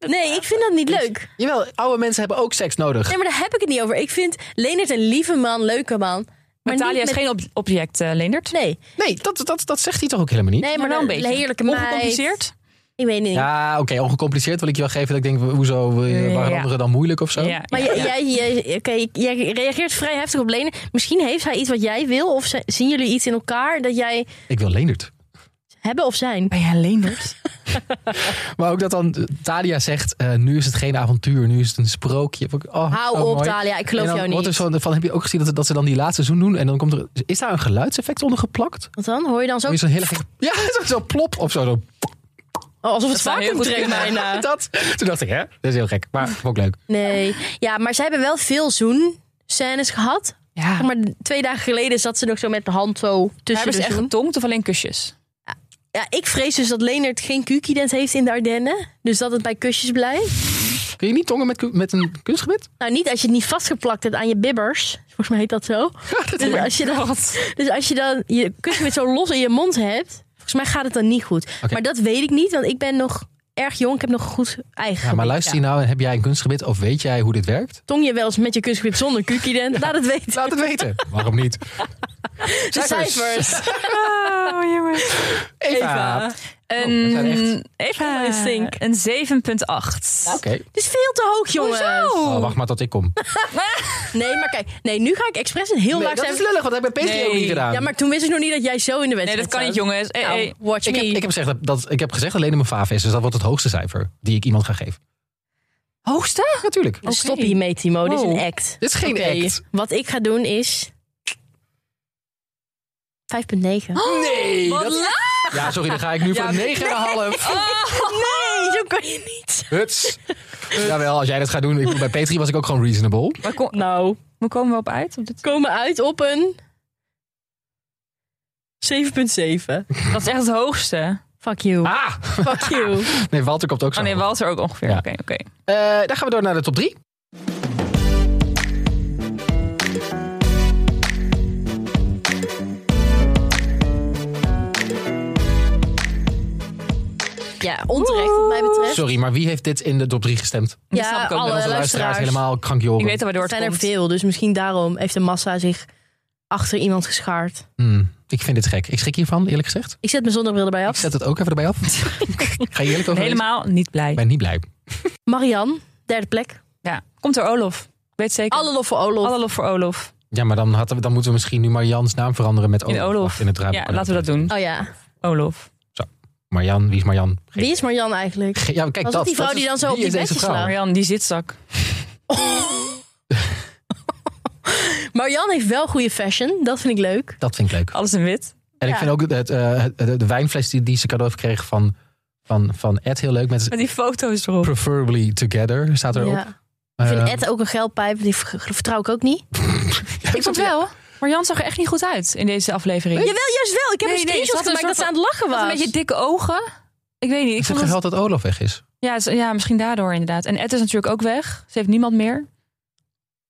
[SPEAKER 2] Nee, ik vind dat niet leuk.
[SPEAKER 1] Jawel, oude mensen hebben ook seks nodig.
[SPEAKER 2] Nee, maar daar heb ik het niet over. Ik vind Leonard een lieve man, leuke man. Maar
[SPEAKER 3] Natalia
[SPEAKER 2] niet
[SPEAKER 3] is
[SPEAKER 2] met-
[SPEAKER 3] geen ob- object, eh, Leendert.
[SPEAKER 2] Nee,
[SPEAKER 1] Nee, dat, dat, dat zegt hij toch ook helemaal niet?
[SPEAKER 2] nee maar
[SPEAKER 3] wel
[SPEAKER 2] een beetje. heerlijke meid.
[SPEAKER 3] Ongecompliceerd.
[SPEAKER 2] Ik weet niet.
[SPEAKER 1] Ja, oké, ongecompliceerd wil ik je wel geven. Dat ik denk, hoezo, eh,
[SPEAKER 3] Ja,
[SPEAKER 1] waren
[SPEAKER 3] ja.
[SPEAKER 1] anderen dan moeilijk of zo?
[SPEAKER 3] Ja,
[SPEAKER 2] Maar
[SPEAKER 3] ja,
[SPEAKER 2] jij-
[SPEAKER 3] ja.
[SPEAKER 2] jij, jij, oké, jij reageert vrij heftig op Lenen. Misschien heeft hij iets wat jij wil. Of ze- zien jullie iets in elkaar dat jij
[SPEAKER 1] Ik wil Leendert.
[SPEAKER 2] hebben of zijn.
[SPEAKER 3] Ben jij Leendert?
[SPEAKER 1] Maar ook dat dan eh, Talia zegt, eh, nu is het geen avontuur, nu is het een sprookje. Vond ik- Oh,
[SPEAKER 2] Hou
[SPEAKER 1] zo
[SPEAKER 2] op,
[SPEAKER 1] mooi.
[SPEAKER 2] Talia. Ik
[SPEAKER 1] En
[SPEAKER 2] geloof
[SPEAKER 1] dan
[SPEAKER 2] jou
[SPEAKER 1] wordt
[SPEAKER 2] niet.
[SPEAKER 1] er zo'n- van, heb je ook gezien dat, dat ze dan die laatste seizoen doen? En dan komt er, is daar een geluidseffect onder geplakt?
[SPEAKER 2] Want dan hoor je dan zo...
[SPEAKER 1] Of is er een hele gekke- Ja, zo- zo plop of zo. zo
[SPEAKER 2] Oh, alsof het
[SPEAKER 3] zou heel
[SPEAKER 2] vacuüm
[SPEAKER 3] goed
[SPEAKER 2] trekt
[SPEAKER 3] kunnen.
[SPEAKER 2] bijna.
[SPEAKER 1] dat. Toen dacht ik, hè? Dat is heel gek. Maar vond ik leuk.
[SPEAKER 2] Nee. Ja, maar ze hebben wel veel zoenscènes gehad.
[SPEAKER 3] Ja.
[SPEAKER 2] Zeg Maar dus twee dagen geleden zat ze nog zo met de hand zo tussen
[SPEAKER 3] Hebben
[SPEAKER 2] de
[SPEAKER 3] ze echt
[SPEAKER 2] zoen.
[SPEAKER 3] getongd of alleen kusjes?
[SPEAKER 2] Ja, ik vrees dus dat Leonard geen Q-ident heeft in de Ardennen. Dus dat het bij kusjes blijft.
[SPEAKER 1] Kun je niet tongen met, ku- met een kunstgebit?
[SPEAKER 2] Nou, niet als je het niet vastgeplakt hebt aan je bibbers. Volgens mij heet dat zo. Dus als je dan, dus als je dan je kussenwit zo los in je mond hebt, volgens mij gaat het dan niet goed.
[SPEAKER 1] Oké.
[SPEAKER 2] Maar dat weet ik niet, want ik ben nog erg jong. Ik heb nog een goed eigen
[SPEAKER 1] Ja, maar
[SPEAKER 2] gebit.
[SPEAKER 1] luister je nou, heb jij een kunstgebit of weet jij hoe dit werkt?
[SPEAKER 2] Tong je wel eens met je kussenwit zonder kukident? Laat het weten.
[SPEAKER 1] Laat het weten. Waarom niet?
[SPEAKER 2] De cijfers.
[SPEAKER 3] Oh, jammer.
[SPEAKER 1] Eva.
[SPEAKER 3] Oh,
[SPEAKER 1] Oké. dat zijn
[SPEAKER 2] Ehm,
[SPEAKER 3] Een,
[SPEAKER 1] echt-
[SPEAKER 3] Eva,
[SPEAKER 2] I think.
[SPEAKER 3] een 7,8.
[SPEAKER 2] Het is veel te hoog, jongens.
[SPEAKER 1] Oh, wacht maar tot ik kom.
[SPEAKER 2] Nee, maar kijk. Nee, nu ga ik expres een heel
[SPEAKER 1] Nee,
[SPEAKER 2] laag
[SPEAKER 1] dat is
[SPEAKER 2] cijfer...
[SPEAKER 1] lullig, want dat heb ik bij Patreon
[SPEAKER 3] Nee.
[SPEAKER 1] niet gedaan.
[SPEAKER 2] Ja, maar toen wist ik nog niet dat jij zo in de
[SPEAKER 3] Nee,
[SPEAKER 2] wedstrijd
[SPEAKER 3] dat kan niet,
[SPEAKER 2] zat.
[SPEAKER 3] jongens. Eh, Hey,
[SPEAKER 2] Nou,
[SPEAKER 3] hey.
[SPEAKER 2] watch
[SPEAKER 1] ik,
[SPEAKER 2] me.
[SPEAKER 1] heb, ik, heb gezegd dat, dat, ik heb gezegd dat alleen mijn faaf is, dus dat wordt het hoogste cijfer die ik iemand ga geven.
[SPEAKER 3] Hoogste?
[SPEAKER 1] Ah, Natuurlijk.
[SPEAKER 2] Dus
[SPEAKER 3] Oké.
[SPEAKER 2] Stop hiermee, Timo. Dit is
[SPEAKER 3] Wow.
[SPEAKER 2] een act.
[SPEAKER 1] Dit is geen
[SPEAKER 2] Oké,
[SPEAKER 1] act.
[SPEAKER 2] Wat ik ga doen is... 5,9.
[SPEAKER 1] Nee.
[SPEAKER 3] Wat
[SPEAKER 1] dat-
[SPEAKER 3] laag!
[SPEAKER 1] Oh, Ja, Oh. sorry, dan ga ik nu voor 9,5.
[SPEAKER 2] Nee, zo kan je niet.
[SPEAKER 1] Huts. Jawel, als jij dat gaat doen. Ik, bedoel, bij Petri was ik ook gewoon reasonable.
[SPEAKER 3] Maar kom,
[SPEAKER 2] Nou,
[SPEAKER 3] hoe komen we op uit? Op dit?
[SPEAKER 2] komen uit op een 7,7.
[SPEAKER 3] Dat is echt het hoogste.
[SPEAKER 2] Fuck you.
[SPEAKER 1] Ah!
[SPEAKER 2] Fuck you.
[SPEAKER 1] Nee, Walter komt ook zo.
[SPEAKER 3] Oh nee, Walter ook ongeveer.
[SPEAKER 1] Ja.
[SPEAKER 3] Oké, oké.
[SPEAKER 1] Eh, dan gaan we door naar de top drie.
[SPEAKER 2] Ja, onterecht wat mij betreft.
[SPEAKER 1] Sorry, maar wie heeft dit in de top drie gestemd?
[SPEAKER 3] Dat
[SPEAKER 2] Ja,
[SPEAKER 3] snap ik ook.
[SPEAKER 2] alle
[SPEAKER 3] wel.
[SPEAKER 1] Onze luisteraars
[SPEAKER 2] luisteraars.
[SPEAKER 1] helemaal krankjoren.
[SPEAKER 3] Ik weet al waardoor
[SPEAKER 2] Er
[SPEAKER 3] het
[SPEAKER 2] zijn er
[SPEAKER 3] komt.
[SPEAKER 2] veel, dus misschien daarom heeft de massa zich achter iemand geschaard.
[SPEAKER 1] Hmm, ik vind dit gek. Ik schrik hiervan, eerlijk gezegd.
[SPEAKER 2] Ik zet mijn zonnebril erbij
[SPEAKER 1] Ik
[SPEAKER 2] af.
[SPEAKER 1] zet het ook even erbij af. Ga je eerlijk over lezen?
[SPEAKER 3] Helemaal niet blij.
[SPEAKER 1] Ik ben niet blij.
[SPEAKER 2] Marianne, derde plek.
[SPEAKER 3] Ja. Komt door Olof. Ik weet zeker.
[SPEAKER 2] Alle lof voor Olof.
[SPEAKER 3] Alle lof voor Olof.
[SPEAKER 1] Ja, maar dan, hadden we, dan moeten we misschien nu Marians naam veranderen met Olaf.
[SPEAKER 3] Olaf.
[SPEAKER 1] In het
[SPEAKER 3] Ja,
[SPEAKER 1] draaiboek.
[SPEAKER 3] laten we dat doen.
[SPEAKER 2] Oh ja.
[SPEAKER 3] Olof.
[SPEAKER 1] Marian, wie is Marian? Geen-
[SPEAKER 2] Wie is Marianne eigenlijk?
[SPEAKER 1] Ge- Ja, maar kijk,
[SPEAKER 2] Was
[SPEAKER 1] dat,
[SPEAKER 2] dat die vrouw
[SPEAKER 1] is-
[SPEAKER 2] die dan zo op
[SPEAKER 1] wie
[SPEAKER 2] die
[SPEAKER 1] is deze
[SPEAKER 2] bedjes
[SPEAKER 1] vrouw?
[SPEAKER 2] lag?
[SPEAKER 3] Marian, die zitzak.
[SPEAKER 2] Marianne heeft wel goede fashion. Dat vind ik leuk.
[SPEAKER 1] Dat vind ik leuk.
[SPEAKER 3] Alles in wit.
[SPEAKER 1] En ik
[SPEAKER 2] Ja.
[SPEAKER 1] vind ook het, eh, het- de, de wijnfles die, die ze cadeau heeft gekregen van, van, van Ed heel leuk. Met
[SPEAKER 3] Met Oh, die foto's erop.
[SPEAKER 1] Preferably Together staat erop.
[SPEAKER 2] Ja. Ik
[SPEAKER 1] Eh,
[SPEAKER 2] vind Ed ook een geldpijp. Die ver- vertrouw ik ook niet.
[SPEAKER 3] Ik vond wel. Marian zag er echt niet goed uit in deze aflevering.
[SPEAKER 2] Jawel, juist wel. Ik heb
[SPEAKER 3] Nee,
[SPEAKER 2] een
[SPEAKER 3] nee,
[SPEAKER 2] screenshot
[SPEAKER 3] ze had een
[SPEAKER 2] gemaakt dat ze
[SPEAKER 3] soort
[SPEAKER 2] aan het lachen
[SPEAKER 3] Ze had
[SPEAKER 2] was.
[SPEAKER 3] een beetje dikke ogen. Ik weet niet. Ik
[SPEAKER 1] Ze heeft
[SPEAKER 3] vond het-
[SPEAKER 1] gehuild dat Olaf weg is.
[SPEAKER 3] ja, het is- ja, misschien daardoor inderdaad. En Ed is natuurlijk ook weg. Ze heeft niemand meer.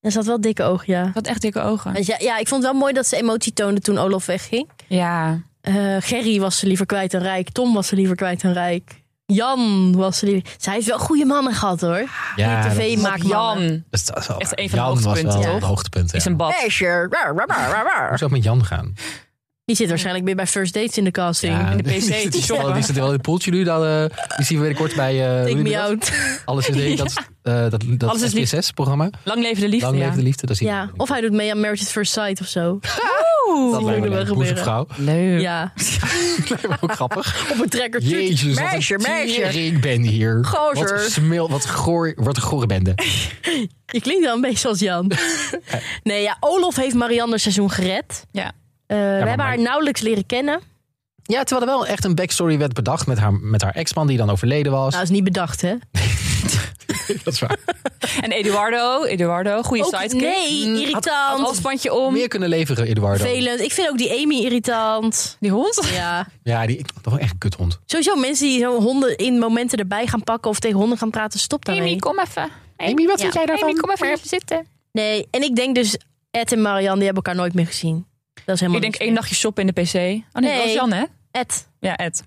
[SPEAKER 2] En ze had wel dikke ogen, ja.
[SPEAKER 3] Ze had echt dikke ogen.
[SPEAKER 2] Dus ja, ja, ik vond het wel mooi dat ze emotie toonde toen Olof wegging.
[SPEAKER 3] Ja.
[SPEAKER 2] Eh, Gerry was ze liever kwijt dan rijk. Tom was ze liever kwijt dan rijk. Jan was ze liever... Zij heeft wel goede mannen gehad, hoor.
[SPEAKER 3] Ah,
[SPEAKER 1] Ja,
[SPEAKER 2] Die
[SPEAKER 1] dat-
[SPEAKER 2] tv maakt
[SPEAKER 3] Jan
[SPEAKER 2] mannen.
[SPEAKER 1] dat is- dat is wel
[SPEAKER 3] Echt
[SPEAKER 1] waar.
[SPEAKER 3] een van de
[SPEAKER 1] Jan was
[SPEAKER 3] hoogtepunten,
[SPEAKER 1] wel
[SPEAKER 2] toch?
[SPEAKER 1] het hoogtepunt. Ja.
[SPEAKER 3] is een bad.
[SPEAKER 2] Meisje. Rar, rar, rar,
[SPEAKER 1] Hoe
[SPEAKER 2] rar.
[SPEAKER 1] zou het met Jan gaan?
[SPEAKER 2] Die zit waarschijnlijk weer bij First Dates in de casting.
[SPEAKER 1] Ja,
[SPEAKER 3] in de
[SPEAKER 1] die
[SPEAKER 3] PC.
[SPEAKER 1] zit- Die, zit
[SPEAKER 3] Ja.
[SPEAKER 1] wel- die zit wel in het poeltje nu. Dan, eh, die zien we binnenkort bij... eh, hoe
[SPEAKER 2] Take
[SPEAKER 1] noem je
[SPEAKER 2] me
[SPEAKER 1] dat?
[SPEAKER 2] out.
[SPEAKER 1] Alles is, nee, dat, eh, dat, dat
[SPEAKER 3] Alles is lief.
[SPEAKER 1] SPSS-programma.
[SPEAKER 3] Lang leven de liefde.
[SPEAKER 1] Lang
[SPEAKER 3] ja.
[SPEAKER 1] leven de liefde. Dat zien
[SPEAKER 2] Ja,
[SPEAKER 1] we.
[SPEAKER 2] of hij doet mee aan Marriage at First Sight of zo.
[SPEAKER 1] dat lijkt me
[SPEAKER 2] moeten we
[SPEAKER 1] een
[SPEAKER 2] gebeuren.
[SPEAKER 1] boezemvrouw.
[SPEAKER 3] Leuk.
[SPEAKER 2] Ja,
[SPEAKER 1] lijkt me ook grappig.
[SPEAKER 2] op een trekker.
[SPEAKER 1] Jezus, wat
[SPEAKER 2] meisje,
[SPEAKER 1] een
[SPEAKER 2] meisje.
[SPEAKER 1] tering ben hier.
[SPEAKER 2] Gozer.
[SPEAKER 1] Wat smeel, wat goor, wat een gore bende.
[SPEAKER 2] Je klinkt wel een beetje als Jan. Nee, ja, Olof heeft Marianne haar seizoen gered.
[SPEAKER 3] Ja.
[SPEAKER 2] Eh, we hebben
[SPEAKER 1] maar-
[SPEAKER 2] haar nauwelijks leren kennen.
[SPEAKER 1] Ja, terwijl er wel echt een backstory werd bedacht met haar, met haar ex-man die dan overleden was.
[SPEAKER 2] Nou, is niet bedacht, hè?
[SPEAKER 1] dat is waar.
[SPEAKER 3] En Eduardo. Eduardo. Goede
[SPEAKER 2] Ook-
[SPEAKER 3] sidekick.
[SPEAKER 2] nee,
[SPEAKER 1] Mm,
[SPEAKER 2] irritant.
[SPEAKER 3] Halsbandje om.
[SPEAKER 1] Meer kunnen leveren, Eduardo.
[SPEAKER 2] Vervelend. Ik vind ook die Amy irritant.
[SPEAKER 3] Die hond.
[SPEAKER 2] Ja.
[SPEAKER 1] Ja, die ik- toch wel echt een kuthond.
[SPEAKER 2] Sowieso mensen die zo honden in momenten erbij gaan pakken of tegen honden gaan praten, stop daarmee.
[SPEAKER 3] Amy, kom even.
[SPEAKER 1] Amy, wat
[SPEAKER 2] Ja.
[SPEAKER 1] vind jij daarvan?
[SPEAKER 3] Amy, kom even, even zitten.
[SPEAKER 2] Nee, en ik denk dus Ed en Marianne, die hebben elkaar nooit meer gezien. Dat is helemaal
[SPEAKER 3] Ik
[SPEAKER 2] niks
[SPEAKER 3] denk één
[SPEAKER 2] meer.
[SPEAKER 3] nachtje shoppen in de PC. Oh nee, dat was
[SPEAKER 2] Nee.
[SPEAKER 3] Jan, hè?
[SPEAKER 2] Ed.
[SPEAKER 3] Ja, Ed.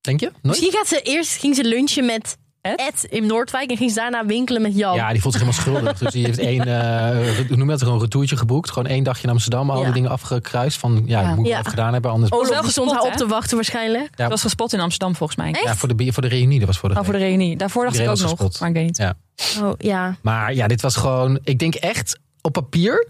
[SPEAKER 1] Denk je? Nooit?
[SPEAKER 2] Misschien gaat ze eerst ging ze lunchen met
[SPEAKER 3] Ed?
[SPEAKER 2] Ed, in Noordwijk en ging ze daarna winkelen met Jan.
[SPEAKER 1] Ja, die voelt zich helemaal schuldig. Dus die heeft één, eh, hoe noem je dat, gewoon een retourtje geboekt. Gewoon één dagje in Amsterdam, al die
[SPEAKER 2] Ja.
[SPEAKER 1] dingen afgekruist. Van, ja,
[SPEAKER 3] Ja.
[SPEAKER 1] moet ik
[SPEAKER 2] Ja. Oh,
[SPEAKER 1] wel even gedaan hebben, anders...
[SPEAKER 2] Olaf
[SPEAKER 3] Wel
[SPEAKER 2] die
[SPEAKER 3] gespot,
[SPEAKER 2] stond haar
[SPEAKER 3] hè?
[SPEAKER 2] op te wachten waarschijnlijk.
[SPEAKER 1] Ja.
[SPEAKER 3] Dat was gespot in Amsterdam, volgens mij.
[SPEAKER 2] Echt?
[SPEAKER 1] Ja, voor de, bi- voor de reunie, dat was voor de,
[SPEAKER 3] Oh, voor de reunie. Daarvoor dacht
[SPEAKER 1] Iedereen
[SPEAKER 3] ik ook
[SPEAKER 1] was
[SPEAKER 3] nog.
[SPEAKER 1] gespot.
[SPEAKER 3] Maar ik weet niet.
[SPEAKER 2] Oh, ja.
[SPEAKER 1] Maar ja, dit was gewoon... Ik denk echt, op papier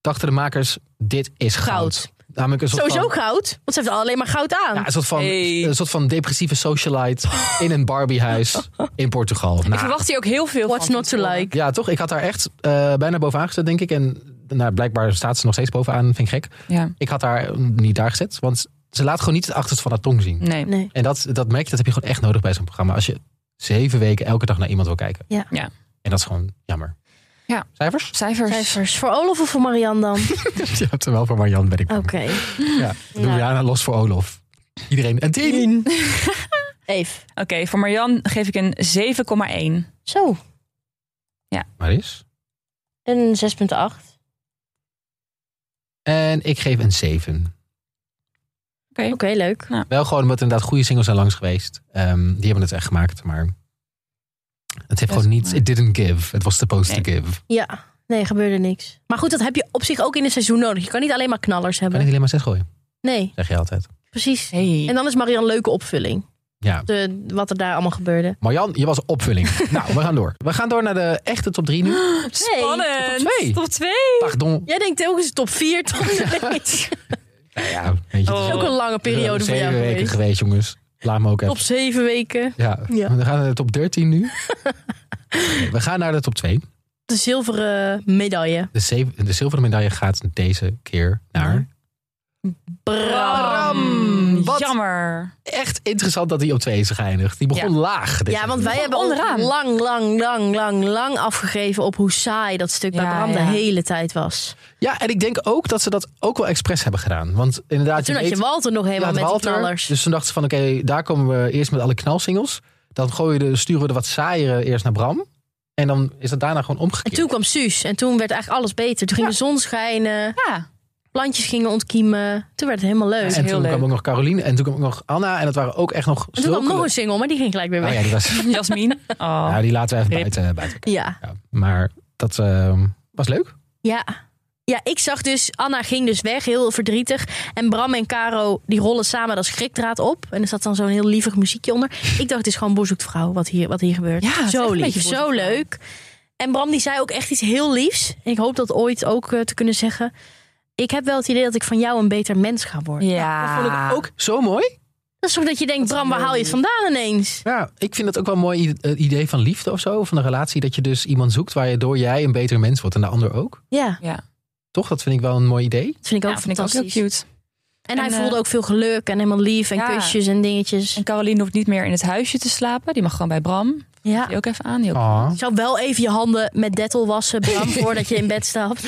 [SPEAKER 1] dachten de makers, dit is goud.
[SPEAKER 2] Goud.
[SPEAKER 1] Namelijk een soort
[SPEAKER 2] Sowieso
[SPEAKER 1] van,
[SPEAKER 2] goud, want ze heeft alleen maar goud aan.
[SPEAKER 1] ja, een, soort van,
[SPEAKER 3] Hey.
[SPEAKER 1] een soort van depressieve socialite in een Barbiehuis in Portugal. Nou,
[SPEAKER 3] Ik verwacht hier ook heel veel
[SPEAKER 2] What's
[SPEAKER 3] van.
[SPEAKER 2] not to like?
[SPEAKER 1] Ja, toch? Ik had daar echt eh, bijna bovenaan gezet, denk ik. En nou, blijkbaar staat ze nog steeds bovenaan, vind ik gek.
[SPEAKER 3] Ja.
[SPEAKER 1] Ik had haar eh, niet daar gezet, want ze laat gewoon niet het achterste van haar tong zien.
[SPEAKER 3] Nee.
[SPEAKER 2] Nee.
[SPEAKER 1] En dat, dat merk je, dat heb je gewoon echt nodig bij zo'n programma. Als je zeven weken elke dag naar iemand wil kijken.
[SPEAKER 2] Ja.
[SPEAKER 3] Ja.
[SPEAKER 1] En dat is gewoon jammer.
[SPEAKER 3] Ja.
[SPEAKER 1] Cijfers?
[SPEAKER 3] Cijfers.
[SPEAKER 2] Cijfers. Voor Olaf of voor Marianne dan?
[SPEAKER 1] Je hebt er wel voor Marjan, ben ik
[SPEAKER 2] Oké.
[SPEAKER 3] Oh,
[SPEAKER 1] bang. Ja. Doe
[SPEAKER 2] Ja.
[SPEAKER 1] Jana los voor Olof. Iedereen een tien.
[SPEAKER 2] Even.
[SPEAKER 3] Oké, voor Marian geef ik een 7,1.
[SPEAKER 2] Zo,
[SPEAKER 1] Maar is.
[SPEAKER 2] een 6,8.
[SPEAKER 1] En ik geef een zeven.
[SPEAKER 2] Oké, leuk.
[SPEAKER 1] Wel gewoon omdat er inderdaad goede singles zijn langs geweest. Ehm, die hebben het echt gemaakt, maar... Het heeft
[SPEAKER 3] Best
[SPEAKER 1] gewoon niet...
[SPEAKER 3] maar.
[SPEAKER 1] It didn't give. Het was supposed to give.
[SPEAKER 2] Ja, nee, gebeurde niks. Maar goed, dat heb je op zich ook in een seizoen nodig. Je kan niet alleen maar knallers
[SPEAKER 1] Kan
[SPEAKER 2] hebben.
[SPEAKER 1] ik alleen maar zes gooien,
[SPEAKER 2] Nee,
[SPEAKER 1] zeg je altijd.
[SPEAKER 2] precies.
[SPEAKER 3] Hey.
[SPEAKER 2] En dan is Marie een leuke opvulling.
[SPEAKER 1] Ja.
[SPEAKER 2] De, wat er daar allemaal gebeurde.
[SPEAKER 1] Marjan, je was opvulling. nou, we gaan door. We gaan door naar de echte top drie nu.
[SPEAKER 3] Spannend.
[SPEAKER 1] Top twee.
[SPEAKER 3] Top twee.
[SPEAKER 1] Pardon.
[SPEAKER 2] Jij denkt telkens top 4, top 3. is
[SPEAKER 1] Nou ja, weet je, het is
[SPEAKER 3] Oh.
[SPEAKER 2] ook een lange periode voor
[SPEAKER 1] zeven
[SPEAKER 2] jou
[SPEAKER 1] weken
[SPEAKER 2] geweest.
[SPEAKER 1] geweest, jongens. Laat me ook even.
[SPEAKER 2] Top 7 weken.
[SPEAKER 1] Ja.
[SPEAKER 2] Ja.
[SPEAKER 1] we gaan naar de top 13 nu. Oké, we gaan naar de top 2.
[SPEAKER 2] De zilveren medaille.
[SPEAKER 1] De, zeven-
[SPEAKER 2] Mhm.
[SPEAKER 1] de zilveren medaille gaat deze keer naar...
[SPEAKER 2] Bram.
[SPEAKER 3] Bram.
[SPEAKER 1] Wat?
[SPEAKER 3] jammer.
[SPEAKER 1] Echt interessant dat hij op twee is geëindigd. Die begon
[SPEAKER 3] Ja.
[SPEAKER 1] laag. deze
[SPEAKER 2] Ja, want wij
[SPEAKER 1] week.
[SPEAKER 2] hebben ons
[SPEAKER 3] onderaan.
[SPEAKER 2] lang, lang, lang, lang, lang afgegeven op hoe saai dat stuk bij
[SPEAKER 3] Ja,
[SPEAKER 2] Bram de
[SPEAKER 3] ja.
[SPEAKER 2] hele tijd was.
[SPEAKER 1] Ja, en ik denk ook dat ze dat ook wel expres hebben gedaan. Want inderdaad,
[SPEAKER 2] Toen
[SPEAKER 1] je
[SPEAKER 2] had je
[SPEAKER 1] weet-
[SPEAKER 2] Walter nog helemaal
[SPEAKER 1] Ja,
[SPEAKER 2] met
[SPEAKER 1] het
[SPEAKER 2] die knallers.
[SPEAKER 1] Dus toen dachten ze van oké, daar komen we eerst met alle knalsingels. Dan gooien we de, sturen we de wat saaiere eerst naar Bram. En dan is dat daarna gewoon
[SPEAKER 2] en
[SPEAKER 1] omgekeerd.
[SPEAKER 2] toen kwam Suus en toen werd eigenlijk alles beter. Toen ging de zon schijnen,
[SPEAKER 3] Ja,
[SPEAKER 2] plantjes gingen ontkiemen. Toen werd het helemaal leuk.
[SPEAKER 3] Ja,
[SPEAKER 1] en
[SPEAKER 3] heel
[SPEAKER 1] toen kwam
[SPEAKER 3] leuk.
[SPEAKER 1] ook nog Caroline en toen kwam ook nog Anna. En dat waren ook echt nog
[SPEAKER 2] en toen kwam
[SPEAKER 1] zulke-
[SPEAKER 2] nog een single, maar die ging gelijk weer
[SPEAKER 1] Oh
[SPEAKER 2] weg.
[SPEAKER 1] ja, die, was,
[SPEAKER 3] Jasmin. Oh.
[SPEAKER 1] nou, die laten we even
[SPEAKER 3] Rip.
[SPEAKER 1] buiten. buiten.
[SPEAKER 2] ja.
[SPEAKER 1] Ja, maar dat ehm, was leuk.
[SPEAKER 2] Ja. Ja, ik zag dus, Anna ging dus weg, heel verdrietig. En Bram en Caro, die rollen samen dat schrikdraad op. En er zat dan zo'n heel lievig muziekje onder. Ik dacht, dit is gewoon Boerzoekt Vrouw wat hier, wat hier gebeurt.
[SPEAKER 3] Ja, het is echt
[SPEAKER 2] zo
[SPEAKER 3] een
[SPEAKER 2] lief,
[SPEAKER 3] beetje Boer
[SPEAKER 2] zo
[SPEAKER 3] Zoekt Vrouw.
[SPEAKER 2] leuk. En Bram die zei ook echt iets heel liefs. En ik hoop dat ooit ook eh, te kunnen zeggen. Ik heb wel het idee dat ik van jou een beter mens ga worden.
[SPEAKER 3] Ja.
[SPEAKER 2] Ah.
[SPEAKER 1] Dat vond ik ook zo mooi.
[SPEAKER 2] Dat is toch dat je denkt,
[SPEAKER 3] Dat is
[SPEAKER 2] Bram, waar
[SPEAKER 3] heel
[SPEAKER 2] haal je het vandaan ineens?
[SPEAKER 1] Ja, ik vind dat ook wel een mooi i- eh, idee van liefde of zo. Van een relatie dat je dus iemand zoekt waar je door jij een betere mens wordt en de ander ook.
[SPEAKER 2] Ja,
[SPEAKER 3] Ja,
[SPEAKER 1] Toch? Dat vind ik wel een mooi idee.
[SPEAKER 2] dat vind ik ook
[SPEAKER 3] Ja, vind ik ook
[SPEAKER 2] fantastisch.
[SPEAKER 3] heel cute.
[SPEAKER 2] En, hij
[SPEAKER 3] En, eh,
[SPEAKER 2] voelde ook veel geluk en helemaal lief en
[SPEAKER 3] Ja.
[SPEAKER 2] kusjes en dingetjes.
[SPEAKER 3] En Caroline hoeft niet meer in het huisje te slapen. Die mag gewoon bij Bram.
[SPEAKER 2] Ja.
[SPEAKER 3] Die ook even aan. Die ook-
[SPEAKER 1] Ah.
[SPEAKER 2] Ik zou wel even je handen met dettel wassen, Bram, voordat je in bed stapt.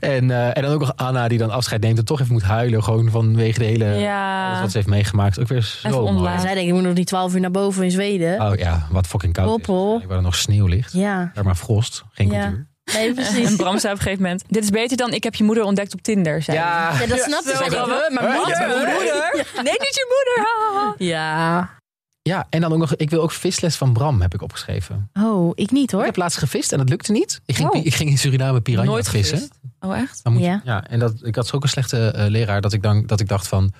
[SPEAKER 1] En, eh, en dan ook nog Anna die dan afscheid neemt en toch even moet huilen. Gewoon vanwege de hele... alles
[SPEAKER 3] Ja.
[SPEAKER 1] wat ze heeft meegemaakt. Ook weer zo
[SPEAKER 3] Even
[SPEAKER 1] mooi.
[SPEAKER 2] Maar
[SPEAKER 3] omlaag.
[SPEAKER 2] zij denkt, ik moet nog die 12 uur naar boven in Zweden.
[SPEAKER 3] Ah.
[SPEAKER 1] Oh ja, wat fucking koud is.
[SPEAKER 2] Hoppel.
[SPEAKER 1] Waar er nog sneeuw ligt.
[SPEAKER 2] Ja,
[SPEAKER 1] Daar maar frost. Geen
[SPEAKER 2] Ja.
[SPEAKER 1] cultuur.
[SPEAKER 2] nee,
[SPEAKER 3] En
[SPEAKER 2] precies.
[SPEAKER 3] Bram zei op een gegeven moment... Dit is beter dan ik heb je moeder ontdekt op Tinder. Zei hij.
[SPEAKER 2] Ja, dat snap ik.
[SPEAKER 1] zo
[SPEAKER 2] Zij denkt,
[SPEAKER 1] grappig.
[SPEAKER 2] huh, maar wat?
[SPEAKER 1] Moeder,
[SPEAKER 2] moeder?
[SPEAKER 3] Nee, niet je moeder. ha, ha, ha.
[SPEAKER 2] Ja.
[SPEAKER 1] Ja, en dan ook nog... Ik wil ook visles van Bram, heb ik opgeschreven.
[SPEAKER 2] Oh, ik niet
[SPEAKER 1] Ik
[SPEAKER 2] hoor.
[SPEAKER 1] heb laatst gevist en dat lukte niet. Ik ging,
[SPEAKER 3] Oh.
[SPEAKER 1] pi- ik ging in Suriname piranha
[SPEAKER 3] Nooit
[SPEAKER 1] vissen.
[SPEAKER 3] gevist. Oh, echt?
[SPEAKER 1] Dan moet je-
[SPEAKER 2] Ja.
[SPEAKER 1] ja. en dat, ik had zo'n slechte eh, leraar dat ik, dan, dat ik dacht van... Het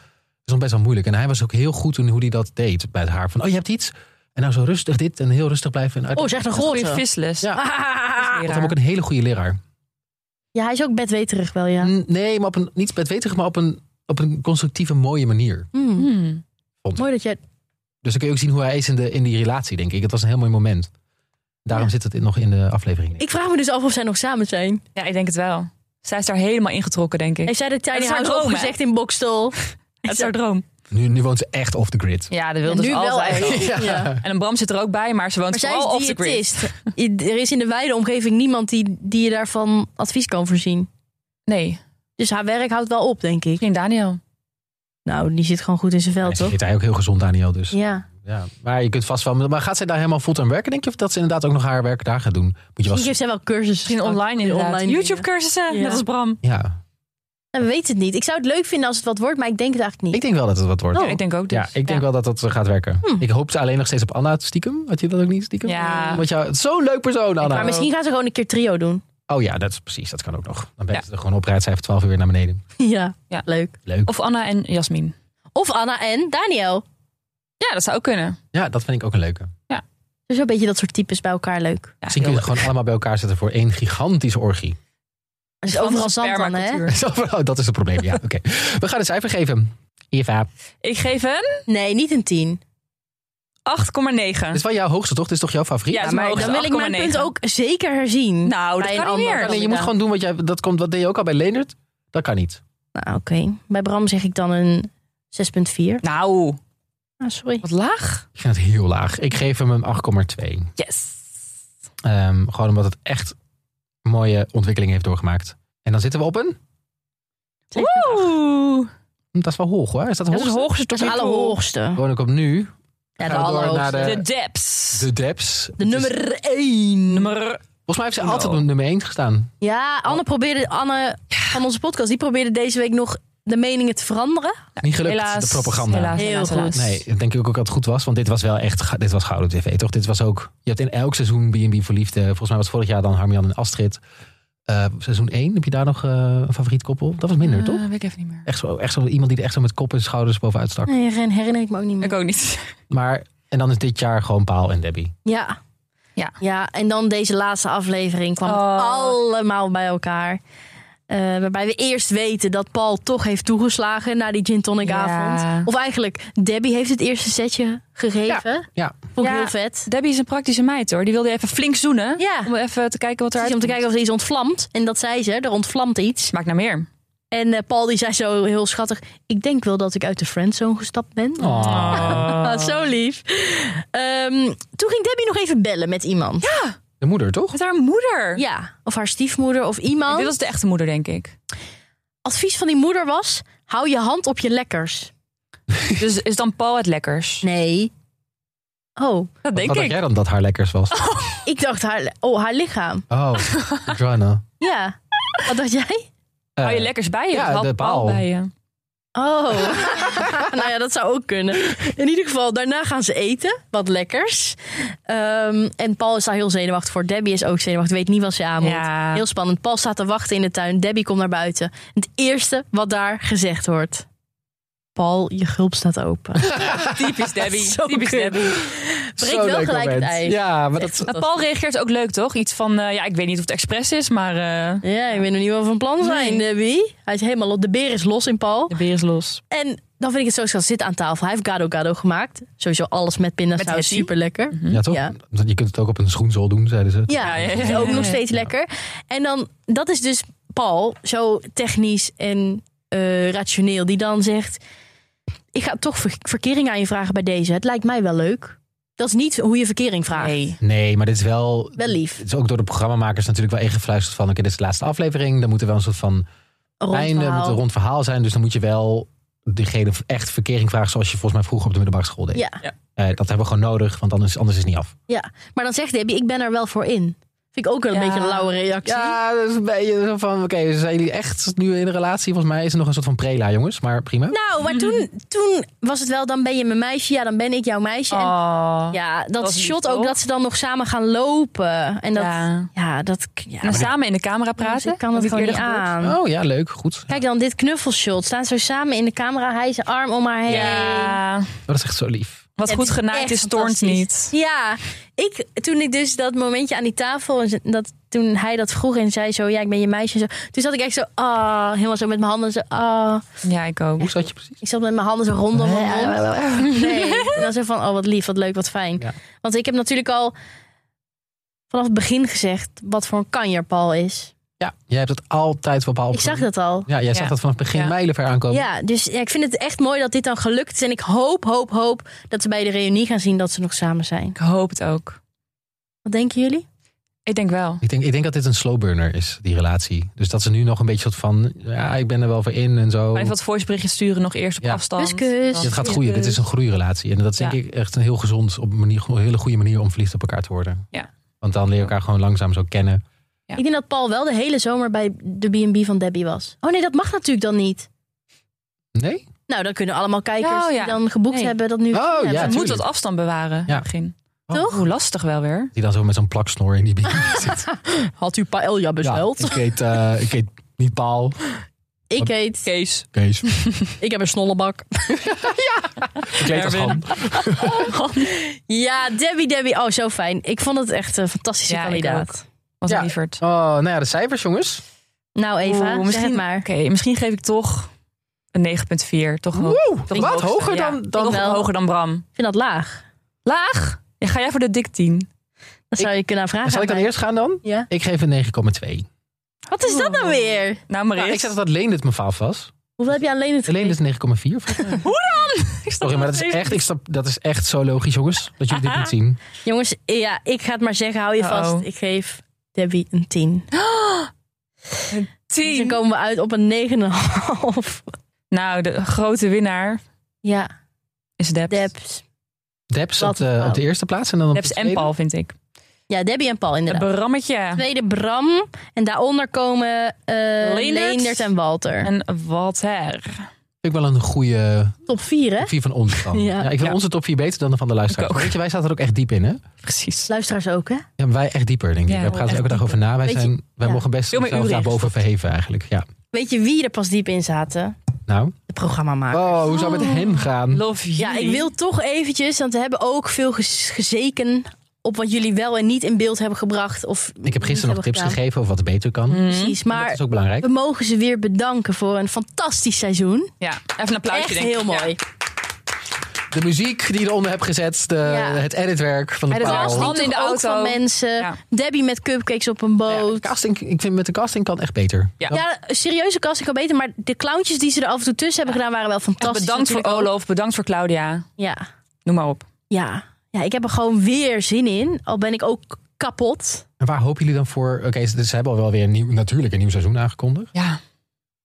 [SPEAKER 1] is nog best wel moeilijk. En hij was ook heel goed in hoe hij dat deed bij het haar. Van, oh, je hebt iets. En nou zo rustig dit en heel rustig blijven. En uit-
[SPEAKER 2] Oh, zeg een
[SPEAKER 3] Goeie
[SPEAKER 2] grote.
[SPEAKER 3] visles.
[SPEAKER 1] Ja.
[SPEAKER 3] Dat is
[SPEAKER 1] Ik
[SPEAKER 3] weer
[SPEAKER 1] vond hem ook een hele goede leraar.
[SPEAKER 2] Ja, hij is ook bedweterig wel,
[SPEAKER 3] Mm.
[SPEAKER 2] ja.
[SPEAKER 1] N- Nee, maar op een, niet bedweterig, maar op een, op een constructieve, mooie manier.
[SPEAKER 2] Hmm.
[SPEAKER 3] raar. Hmm.
[SPEAKER 2] Mooi dat je...
[SPEAKER 1] Dus dan kun je ook zien hoe hij is in, de, in die relatie, denk ik. Het was een heel mooi moment. Daarom zit het in- nog in de aflevering.
[SPEAKER 2] Ik vraag me dus af of zij nog samen zijn.
[SPEAKER 3] Ja, ik denk het wel. Zij is daar helemaal ingetrokken, denk ik.
[SPEAKER 2] Heeft zij de tiny
[SPEAKER 3] is haar
[SPEAKER 2] house
[SPEAKER 3] droom,
[SPEAKER 2] opgezegd in Bokstel?
[SPEAKER 3] Het is haar droom.
[SPEAKER 1] Nu, nu woont ze echt off the grid.
[SPEAKER 3] Ja, dat
[SPEAKER 2] Ja,
[SPEAKER 3] wilde
[SPEAKER 2] nu
[SPEAKER 3] ze
[SPEAKER 2] wel
[SPEAKER 3] altijd. al.
[SPEAKER 2] eigenlijk. Ja.
[SPEAKER 3] En een Bram zit er ook bij, maar ze woont
[SPEAKER 2] Maar zij
[SPEAKER 3] vooral
[SPEAKER 2] is
[SPEAKER 3] off the grid.
[SPEAKER 2] diëtist. I- Er is in de wijde omgeving niemand die, die je daarvan advies kan voorzien.
[SPEAKER 3] Nee,
[SPEAKER 2] Dus haar werk houdt wel op, denk ik.
[SPEAKER 3] misschien Daniel.
[SPEAKER 2] Nou, die zit gewoon goed in zijn vel,
[SPEAKER 1] En ze
[SPEAKER 2] toch?
[SPEAKER 1] eet hij ook heel gezond, Daniel. Dus. Ja.
[SPEAKER 2] Ja.
[SPEAKER 1] Maar je kunt vast wel. Maar gaat zij daar helemaal fulltime werken? Denk je of dat ze inderdaad ook nog haar werk daar gaat doen? Moet je wel.
[SPEAKER 2] Misschien heeft zij wel cursussen.
[SPEAKER 3] Misschien online inderdaad.
[SPEAKER 2] online
[SPEAKER 3] YouTube cursussen,
[SPEAKER 2] Ja.
[SPEAKER 3] net als Bram.
[SPEAKER 1] Ja,
[SPEAKER 2] Nou, we weten het niet. Ik zou het leuk vinden als het wat wordt, maar ik denk het eigenlijk
[SPEAKER 1] ik
[SPEAKER 2] niet.
[SPEAKER 1] denk wel dat het wat wordt.
[SPEAKER 2] Oh.
[SPEAKER 3] Ja, ik denk ook dus.
[SPEAKER 1] Ja, ik denk wel dat dat gaat werken. Ik hoopte alleen nog steeds op Anna stiekem. Had je dat ook niet stiekem?
[SPEAKER 3] Ja.
[SPEAKER 1] Want jou, zo'n leuk persoon, Anna.
[SPEAKER 2] Maar misschien gaan ze gewoon een keer trio doen.
[SPEAKER 1] Oh ja, dat is precies. Dat kan ook nog. Dan ben je
[SPEAKER 3] Ja.
[SPEAKER 1] er gewoon oprijdt. Zij heeft 12 uur weer naar beneden.
[SPEAKER 2] ja.
[SPEAKER 3] Ja.
[SPEAKER 2] leuk.
[SPEAKER 1] Leuk.
[SPEAKER 3] Of Anna en Jasmin.
[SPEAKER 2] Of Anna en Daniel.
[SPEAKER 3] Ja, dat zou ook kunnen.
[SPEAKER 1] Ja, dat vind ik ook een leuke.
[SPEAKER 2] Dus een beetje dat soort types bij elkaar leuk.
[SPEAKER 3] Ja,
[SPEAKER 1] Misschien kun
[SPEAKER 3] heel
[SPEAKER 1] je ze gewoon allemaal bij elkaar zetten voor één gigantische orgie.
[SPEAKER 2] Dus
[SPEAKER 3] leuk.
[SPEAKER 2] overal zand dan, hè?
[SPEAKER 3] Spermacultuur.
[SPEAKER 1] Zo van, oh, dat is het probleem. Ja, oké. We gaan een cijfer geven. Eva.
[SPEAKER 3] Ik geef een
[SPEAKER 2] Nee, niet een tien.
[SPEAKER 3] 8,9.
[SPEAKER 1] Dit is wel jouw hoogste, toch? Dit is toch jouw favoriet?
[SPEAKER 3] Ja,
[SPEAKER 1] Ja,
[SPEAKER 3] is mijn
[SPEAKER 2] maar
[SPEAKER 3] hoogste,
[SPEAKER 2] dan wil ik mijn
[SPEAKER 3] 8,9.
[SPEAKER 2] punt ook zeker herzien.
[SPEAKER 3] Nou,
[SPEAKER 2] Bij
[SPEAKER 3] dat
[SPEAKER 2] een
[SPEAKER 3] kan niet
[SPEAKER 2] ander.
[SPEAKER 3] meer.
[SPEAKER 1] nee, je moet gewoon doen wat jij... Dat, komt, dat deed je ook al bij Leendert. Dat kan niet.
[SPEAKER 2] Nou, oké. Bij Bram zeg ik dan een 6,4.
[SPEAKER 3] Nou,
[SPEAKER 2] Ah, sorry.
[SPEAKER 3] wat laag.
[SPEAKER 1] Ik vind het heel laag. Ik geef hem een 8,2.
[SPEAKER 3] Yes.
[SPEAKER 1] Ehm, gewoon omdat het echt mooie ontwikkeling heeft doorgemaakt. En dan zitten we op een...
[SPEAKER 3] Oeh.
[SPEAKER 1] Dat is wel hoog, hoor. Is dat hoog?
[SPEAKER 3] Dat is het hoogste tot
[SPEAKER 2] Dat is het
[SPEAKER 3] nu toe.
[SPEAKER 2] allerhoogste.
[SPEAKER 1] Gewoon ook op nu.
[SPEAKER 2] Ja, de
[SPEAKER 1] Gaan we door
[SPEAKER 2] allerhoogste.
[SPEAKER 1] naar
[SPEAKER 3] De depths.
[SPEAKER 1] De Debs.
[SPEAKER 2] De nummer 1.
[SPEAKER 3] nummer.
[SPEAKER 1] Volgens mij heeft ze
[SPEAKER 3] Uno.
[SPEAKER 1] altijd op nummer 1 gestaan.
[SPEAKER 2] Ja, Anne probeerde, Anne van onze podcast, die probeerde deze week nog de meningen te veranderen.
[SPEAKER 1] niet gelukt,
[SPEAKER 3] Helaas.
[SPEAKER 1] de propaganda.
[SPEAKER 3] Helaas,
[SPEAKER 2] Heel
[SPEAKER 3] helaas,
[SPEAKER 2] goed.
[SPEAKER 3] helaas.
[SPEAKER 1] Nee, dat denk ik ook dat het goed was. Want dit was wel echt, ga- dit was gouden tv, toch? Dit was ook, je hebt in elk seizoen B&B voor Liefde. Volgens mij was vorig jaar dan Harmian en Astrid. Eh, seizoen 1, heb je daar nog eh, een favoriet koppel? Dat was minder,
[SPEAKER 3] Eh,
[SPEAKER 1] toch?
[SPEAKER 3] weet ik even niet meer.
[SPEAKER 1] Echt zo, echt zo iemand die er echt zo met kop en schouders bovenuit stak.
[SPEAKER 2] Nee, Ren, herinner ik me ook niet meer.
[SPEAKER 3] Ik ook niet.
[SPEAKER 1] Maar, en dan is dit jaar gewoon Paal en Debbie.
[SPEAKER 2] Ja.
[SPEAKER 3] Ja.
[SPEAKER 2] ja, en dan deze laatste aflevering kwam het
[SPEAKER 3] Oh.
[SPEAKER 2] allemaal bij elkaar. Eh, waarbij we eerst weten dat Paul toch heeft toegeslagen na die gin tonic
[SPEAKER 3] Ja.
[SPEAKER 2] avond. Of eigenlijk, Debbie heeft het eerste setje gegeven.
[SPEAKER 1] Ja,
[SPEAKER 2] Vond ik
[SPEAKER 3] Ja.
[SPEAKER 2] heel vet.
[SPEAKER 3] Debbie is een praktische meid hoor. Die wilde even flink zoenen.
[SPEAKER 2] Ja.
[SPEAKER 3] Om even te kijken wat
[SPEAKER 2] Precies,
[SPEAKER 3] eruit
[SPEAKER 2] om te
[SPEAKER 3] komt.
[SPEAKER 2] kijken of er iets ontvlamt. En dat zei ze, er ontvlamt iets.
[SPEAKER 3] Smaakt naar nou meer.
[SPEAKER 2] En eh, Paul die zei zo heel schattig... ik denk wel dat ik uit de friendzone gestapt ben.
[SPEAKER 3] Oh.
[SPEAKER 2] Ah, zo lief. Ehm, toen ging Debbie nog even bellen met iemand. Ja.
[SPEAKER 1] De moeder, toch?
[SPEAKER 3] Met haar moeder.
[SPEAKER 2] Of haar stiefmoeder of iemand.
[SPEAKER 3] Dit was de echte moeder, denk ik.
[SPEAKER 2] Advies van die moeder was... hou je hand op je lekkers.
[SPEAKER 3] Dus is dan Paul het lekkers?
[SPEAKER 2] Nee. Oh,
[SPEAKER 3] Dat denk
[SPEAKER 1] Wat dacht
[SPEAKER 3] ik.
[SPEAKER 1] jij dan dat haar lekkers was?
[SPEAKER 2] ik dacht haar, oh, haar lichaam.
[SPEAKER 1] Oh, Joanna.
[SPEAKER 2] Ja. Wat dacht jij?
[SPEAKER 1] Eh,
[SPEAKER 3] Hou je lekkers bij je?
[SPEAKER 1] ja,
[SPEAKER 3] Of had
[SPEAKER 1] de Paul.
[SPEAKER 3] bij je.
[SPEAKER 2] Oh. nou ja, dat zou ook kunnen. In ieder geval, daarna gaan ze eten. Wat lekkers. Ehm, en Paul is daar heel zenuwachtig voor. Debbie is ook zenuwachtig. Weet niet wat ze aan moet.
[SPEAKER 3] Ja.
[SPEAKER 2] Heel spannend. Paul staat te wachten in de tuin. Debbie komt naar buiten. Het eerste wat daar gezegd wordt. Paul, je gulp staat open.
[SPEAKER 3] Typisch Debbie.
[SPEAKER 2] Zo
[SPEAKER 3] Typisch
[SPEAKER 2] kut.
[SPEAKER 3] Debbie.
[SPEAKER 2] breekt
[SPEAKER 1] zo'n
[SPEAKER 2] wel
[SPEAKER 1] leuk
[SPEAKER 2] gelijk het
[SPEAKER 1] moment.
[SPEAKER 2] ijs.
[SPEAKER 1] Ja, maar dat,
[SPEAKER 2] Echt
[SPEAKER 3] Maar
[SPEAKER 2] fantastisch.
[SPEAKER 3] Paul reageert ook leuk, toch? Iets van, eh, ja, ik weet niet of het expres is, maar eh,
[SPEAKER 2] Ja, ik weet nog niet wat we van plan zijn,
[SPEAKER 3] Nee.
[SPEAKER 2] Debbie. Hij is helemaal los. De beer is los in Paul.
[SPEAKER 3] de beer is los.
[SPEAKER 2] En dan vind ik het zo schattig. Zit aan tafel. Hij heeft gado gado gemaakt. Sowieso alles met
[SPEAKER 3] Met
[SPEAKER 2] pindasaus.
[SPEAKER 3] Hetty.
[SPEAKER 2] Super lekker.
[SPEAKER 1] ja, toch?
[SPEAKER 2] hm? Ja.
[SPEAKER 1] Je kunt het ook op een schoenzool doen, zeiden ze.
[SPEAKER 2] Ja,
[SPEAKER 3] Ja, ja,
[SPEAKER 2] dat
[SPEAKER 3] ja,
[SPEAKER 2] is ook
[SPEAKER 3] ja,
[SPEAKER 2] nog
[SPEAKER 3] ja.
[SPEAKER 2] steeds lekker. En dan, dat is dus Paul, zo technisch en eh, rationeel, die dan zegt: Ik ga toch ver- verkering aan je vragen bij deze. Het lijkt mij wel leuk. Dat is niet hoe je verkering vraagt.
[SPEAKER 3] Nee.
[SPEAKER 1] Nee, maar dit is wel...
[SPEAKER 2] Wel lief.
[SPEAKER 1] Het is ook door de programmamakers natuurlijk wel ingefluisterd van... oké, dit is de laatste aflevering. Dan moet er wel een soort van
[SPEAKER 2] Een rond
[SPEAKER 1] einde, moet
[SPEAKER 2] verhaal.
[SPEAKER 1] een rond verhaal zijn. Dus dan moet je wel diegene echt verkering vragen... zoals je volgens mij vroeger op de middelbare school deed.
[SPEAKER 2] Ja.
[SPEAKER 1] Eh, dat hebben we gewoon nodig, want anders, anders is het niet af.
[SPEAKER 2] ja, maar dan zegt Debbie: Ik ben er wel voor in. Vind ik ook wel een
[SPEAKER 3] Ja.
[SPEAKER 2] beetje een lauwe reactie.
[SPEAKER 1] Ja, dat is een beetje zo van... oké, zijn jullie echt nu in een relatie? Volgens mij is er nog een soort van prela, jongens. Maar prima.
[SPEAKER 2] Nou, maar toen, toen was het wel: Dan ben je mijn meisje. Ja, dan ben ik jouw meisje. En
[SPEAKER 3] Oh.
[SPEAKER 2] ja, dat,
[SPEAKER 3] dat is lief,
[SPEAKER 2] shot ook
[SPEAKER 3] toch?
[SPEAKER 2] dat ze dan nog samen gaan lopen. En dat, ja,
[SPEAKER 3] Ja.
[SPEAKER 2] dat ja,
[SPEAKER 3] En samen in de camera praten.
[SPEAKER 2] ik kan
[SPEAKER 3] Heb
[SPEAKER 2] het
[SPEAKER 3] ik
[SPEAKER 2] gewoon niet
[SPEAKER 3] eerder gehoord.
[SPEAKER 2] aan.
[SPEAKER 1] Oh ja, leuk, goed.
[SPEAKER 2] Kijk dan, dit knuffelshot. Staan ze samen in de camera. Hij zijn arm om haar heen.
[SPEAKER 3] Ja,
[SPEAKER 1] Oh, dat is echt zo lief.
[SPEAKER 3] wat
[SPEAKER 2] Het
[SPEAKER 3] goed
[SPEAKER 2] is
[SPEAKER 3] genaaid
[SPEAKER 2] echt
[SPEAKER 3] is, toont
[SPEAKER 2] fantastisch.
[SPEAKER 3] niet.
[SPEAKER 2] Ja, ik, toen ik dus dat momentje aan die tafel... en ze- Dat, toen hij dat vroeg en zei zo... Ja, ik ben je meisje. en Zo, toen zat ik echt zo... Ah, helemaal zo met mijn handen zo... Ah.
[SPEAKER 3] Ja, ik ook.
[SPEAKER 1] Hoe zat je precies?
[SPEAKER 2] Ik zat met mijn handen zo rondom mijn mond. Nee. En dan zo van, oh wat lief, wat leuk, wat fijn.
[SPEAKER 1] Ja.
[SPEAKER 2] Want ik heb natuurlijk al vanaf het begin gezegd... wat voor een kanjer Paul is.
[SPEAKER 1] Ja, jij hebt het altijd wel bepaald.
[SPEAKER 2] Ik zag dat al.
[SPEAKER 1] Ja, jij zag
[SPEAKER 3] Ja.
[SPEAKER 1] dat vanaf het begin
[SPEAKER 3] Ja.
[SPEAKER 1] mijlenver aankomen.
[SPEAKER 2] Ja, dus ja, ik vind het echt mooi dat dit dan gelukt is. En ik hoop, hoop, hoop dat ze bij de reunie gaan zien dat ze nog samen zijn.
[SPEAKER 3] Ik hoop het ook.
[SPEAKER 2] Wat denken jullie?
[SPEAKER 3] Ik denk wel.
[SPEAKER 1] Ik, denk, ik denk dat dit een slow burner is, die relatie. Dus dat ze nu nog een beetje soort van... Ja, ik ben er wel voor in en zo.
[SPEAKER 3] Maar even wat voiceberichtjes sturen, nog eerst op
[SPEAKER 1] Oh. Ja.
[SPEAKER 3] afstand.
[SPEAKER 2] Kus, kus.
[SPEAKER 3] Dan-
[SPEAKER 1] Dit gaat groeien. Dit is een groeirelatie. En dat is denk
[SPEAKER 3] Ja.
[SPEAKER 1] ik echt een heel gezond, op een manier, een hele goede manier om verliefd op elkaar te worden.
[SPEAKER 3] Ja.
[SPEAKER 1] Want dan leer je elkaar gewoon langzaam zo kennen.
[SPEAKER 3] Ja.
[SPEAKER 2] Ik denk dat Paul wel de hele zomer bij de B&B van Debbie was. Oh nee, dat mag natuurlijk dan niet.
[SPEAKER 1] Nee?
[SPEAKER 2] Nou, dan kunnen allemaal kijkers
[SPEAKER 3] Ja, oh ja.
[SPEAKER 2] die dan geboekt
[SPEAKER 3] Nee.
[SPEAKER 2] hebben dat nu
[SPEAKER 1] Oh,
[SPEAKER 2] gezien
[SPEAKER 1] ja,
[SPEAKER 3] Je
[SPEAKER 2] hebben.
[SPEAKER 3] moet
[SPEAKER 1] tuurlijk.
[SPEAKER 3] dat afstand bewaren.
[SPEAKER 1] Ja.
[SPEAKER 3] Ja. Begin.
[SPEAKER 1] Oh.
[SPEAKER 2] Toch?
[SPEAKER 3] Hoe lastig wel weer.
[SPEAKER 1] Die dan zo met zo'n plaksnor in die bier zit.
[SPEAKER 2] Had u paella
[SPEAKER 1] Ja, ik eet, eh, ik eet niet paal.
[SPEAKER 2] ik heet...
[SPEAKER 3] Kees.
[SPEAKER 1] Kees. Ik
[SPEAKER 2] Ik heb een snollebak.
[SPEAKER 1] eet als
[SPEAKER 3] Erwin.
[SPEAKER 1] ham.
[SPEAKER 2] Ja, Debbie, Debbie. Oh, zo fijn. Ik vond het echt een fantastische
[SPEAKER 3] Ja, ik
[SPEAKER 2] kandidaat.
[SPEAKER 3] Wat
[SPEAKER 1] Ja.
[SPEAKER 3] een lieverd.
[SPEAKER 1] Oh, nou ja, de cijfers jongens.
[SPEAKER 2] Nou, Eva,
[SPEAKER 3] Oeh,
[SPEAKER 2] zeg het
[SPEAKER 3] misschien,
[SPEAKER 2] maar.
[SPEAKER 3] Oké, misschien geef ik toch een 9,4. Toch wel-
[SPEAKER 1] dat
[SPEAKER 3] toch
[SPEAKER 1] wat
[SPEAKER 3] hoogste.
[SPEAKER 1] hoger
[SPEAKER 3] Ja,
[SPEAKER 1] dan... dan
[SPEAKER 3] toch
[SPEAKER 2] wel.
[SPEAKER 3] hoger dan Bram.
[SPEAKER 2] Ik vind dat laag.
[SPEAKER 3] Laag? Ja, ga jij voor de dik 10?
[SPEAKER 2] Dat zou je kunnen vragen.
[SPEAKER 1] Zal ik
[SPEAKER 2] aan
[SPEAKER 1] dan eerst gaan dan?
[SPEAKER 2] mij. Ja.
[SPEAKER 1] Ik geef een 9,2.
[SPEAKER 2] Wat is dat nou weer?
[SPEAKER 3] Nou, maar
[SPEAKER 1] Nou, ik
[SPEAKER 3] eerst.
[SPEAKER 1] zei dat Leen dit me faal was.
[SPEAKER 2] Hoeveel heb je aan Lenen
[SPEAKER 1] Leen is 9,4. volgens mij.
[SPEAKER 3] Ik snap
[SPEAKER 1] Sorry, maar
[SPEAKER 3] het
[SPEAKER 1] dat is,
[SPEAKER 3] even
[SPEAKER 1] echt, ik snap, dat is echt zo logisch, jongens. Dat jullie dit niet zien.
[SPEAKER 2] Jongens, ja, ik ga het maar zeggen. Hou je
[SPEAKER 3] Uh-oh.
[SPEAKER 2] vast. Ik geef Debbie een 10. Dus
[SPEAKER 3] 10.
[SPEAKER 2] dan komen we uit op een 9,5.
[SPEAKER 3] Nou, de grote winnaar
[SPEAKER 2] Ja,
[SPEAKER 3] is Debs.
[SPEAKER 2] Debs.
[SPEAKER 1] Debs
[SPEAKER 2] Wat
[SPEAKER 1] eh, op de,
[SPEAKER 2] een
[SPEAKER 1] op de eerste plaats en dan op
[SPEAKER 3] Debs
[SPEAKER 1] de
[SPEAKER 3] en
[SPEAKER 1] tweede.
[SPEAKER 3] Paul, vind ik.
[SPEAKER 2] Ja, Debbie en Paul
[SPEAKER 3] Het
[SPEAKER 2] inderdaad.
[SPEAKER 3] brammetje.
[SPEAKER 2] Tweede Bram. En daaronder komen eh
[SPEAKER 3] Leendert.
[SPEAKER 2] Leendert en Walter.
[SPEAKER 3] En wat her.
[SPEAKER 1] Vind ik wel een goede
[SPEAKER 2] Top 4, hè?
[SPEAKER 1] top 4 van ons dan.
[SPEAKER 2] Ja.
[SPEAKER 1] Ja. ik vind
[SPEAKER 3] Ja.
[SPEAKER 1] onze top 4 beter dan de van de
[SPEAKER 3] Ik
[SPEAKER 1] luisteraars.
[SPEAKER 3] ook.
[SPEAKER 1] Weet je, wij zaten er ook echt diep in, hè?
[SPEAKER 3] Precies.
[SPEAKER 2] Luisteraars ook, hè?
[SPEAKER 1] Ja, wij echt dieper, denk ik.
[SPEAKER 3] Ja,
[SPEAKER 1] we gaan er
[SPEAKER 3] echt
[SPEAKER 1] elke dag
[SPEAKER 3] dieper.
[SPEAKER 1] over na. Wij,
[SPEAKER 2] Weet je-
[SPEAKER 1] zijn, wij
[SPEAKER 2] ja.
[SPEAKER 1] mogen best
[SPEAKER 3] Veel meer
[SPEAKER 1] onszelf
[SPEAKER 3] uren
[SPEAKER 1] daarboven verheven eigenlijk. Ja.
[SPEAKER 2] Weet je wie er pas diep in zaten?
[SPEAKER 1] Nou,
[SPEAKER 2] De programmamaker.
[SPEAKER 1] oh, hoe zou het met hen gaan?
[SPEAKER 3] Love you.
[SPEAKER 2] Ja, ik wil toch eventjes, want we hebben ook veel ges- gezeken op wat jullie wel en niet in beeld hebben gebracht. Of
[SPEAKER 1] Ik heb gisteren nog tips gegeven over wat beter kan.
[SPEAKER 3] Mhm.
[SPEAKER 2] Precies,
[SPEAKER 1] Mhm. Dat
[SPEAKER 2] maar
[SPEAKER 1] is ook belangrijk.
[SPEAKER 2] we mogen ze weer bedanken voor een fantastisch seizoen.
[SPEAKER 3] Ja, even een applausje
[SPEAKER 2] Echt
[SPEAKER 3] denk ik.
[SPEAKER 2] heel mooi.
[SPEAKER 3] Ja.
[SPEAKER 1] de muziek die je eronder hebt gezet, de,
[SPEAKER 2] Ja.
[SPEAKER 1] het editwerk van de
[SPEAKER 3] En het
[SPEAKER 1] paal.
[SPEAKER 3] casting.
[SPEAKER 2] Handen in de auto. Ook van mensen.
[SPEAKER 3] Ja.
[SPEAKER 2] Debbie met cupcakes op een
[SPEAKER 1] Ja, de
[SPEAKER 2] boot.
[SPEAKER 1] casting, ik vind met de casting kan echt beter.
[SPEAKER 3] Ja.
[SPEAKER 2] Ja, serieuze casting kan beter. Maar de clowntjes die ze er af en toe tussen hebben gedaan waren wel fantastisch.
[SPEAKER 3] Bedankt voor
[SPEAKER 2] natuurlijk ook.
[SPEAKER 3] Olof, bedankt voor Claudia.
[SPEAKER 2] Ja.
[SPEAKER 3] Noem maar op.
[SPEAKER 2] Ja. ja, ik heb er gewoon weer zin in. Al ben ik ook kapot.
[SPEAKER 1] En waar hopen jullie dan voor? Oké, ze, ze hebben al wel weer een nieuw, natuurlijk een nieuw seizoen aangekondigd.
[SPEAKER 3] Ja,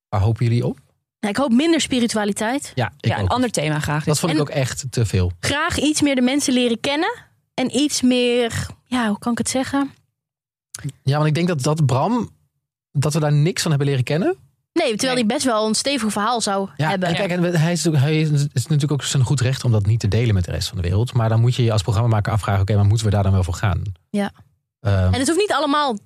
[SPEAKER 1] Waar hopen jullie op?
[SPEAKER 2] Ja, ik hoop minder spiritualiteit.
[SPEAKER 1] Ja, ik
[SPEAKER 3] ja een
[SPEAKER 1] ook.
[SPEAKER 3] ander thema graag.
[SPEAKER 1] Dat vond ik
[SPEAKER 2] en-
[SPEAKER 1] ook echt te veel.
[SPEAKER 2] Graag iets meer de mensen leren kennen. En iets meer, ja, hoe kan ik het zeggen?
[SPEAKER 1] Ja, want ik denk dat dat Bram, dat we daar niks van hebben leren kennen.
[SPEAKER 2] Nee, terwijl
[SPEAKER 3] Nee.
[SPEAKER 2] hij best wel een stevig verhaal zou
[SPEAKER 1] Ja,
[SPEAKER 2] hebben.
[SPEAKER 1] en kijk, en we- hij, is, natuurlijk- hij is, is natuurlijk ook zijn goed recht om dat niet te delen met de rest van de wereld. Maar dan moet je je als programmamaker afvragen, oké, maar moeten we daar dan wel voor gaan?
[SPEAKER 2] Ja.
[SPEAKER 1] Ehm,
[SPEAKER 2] En het hoeft niet allemaal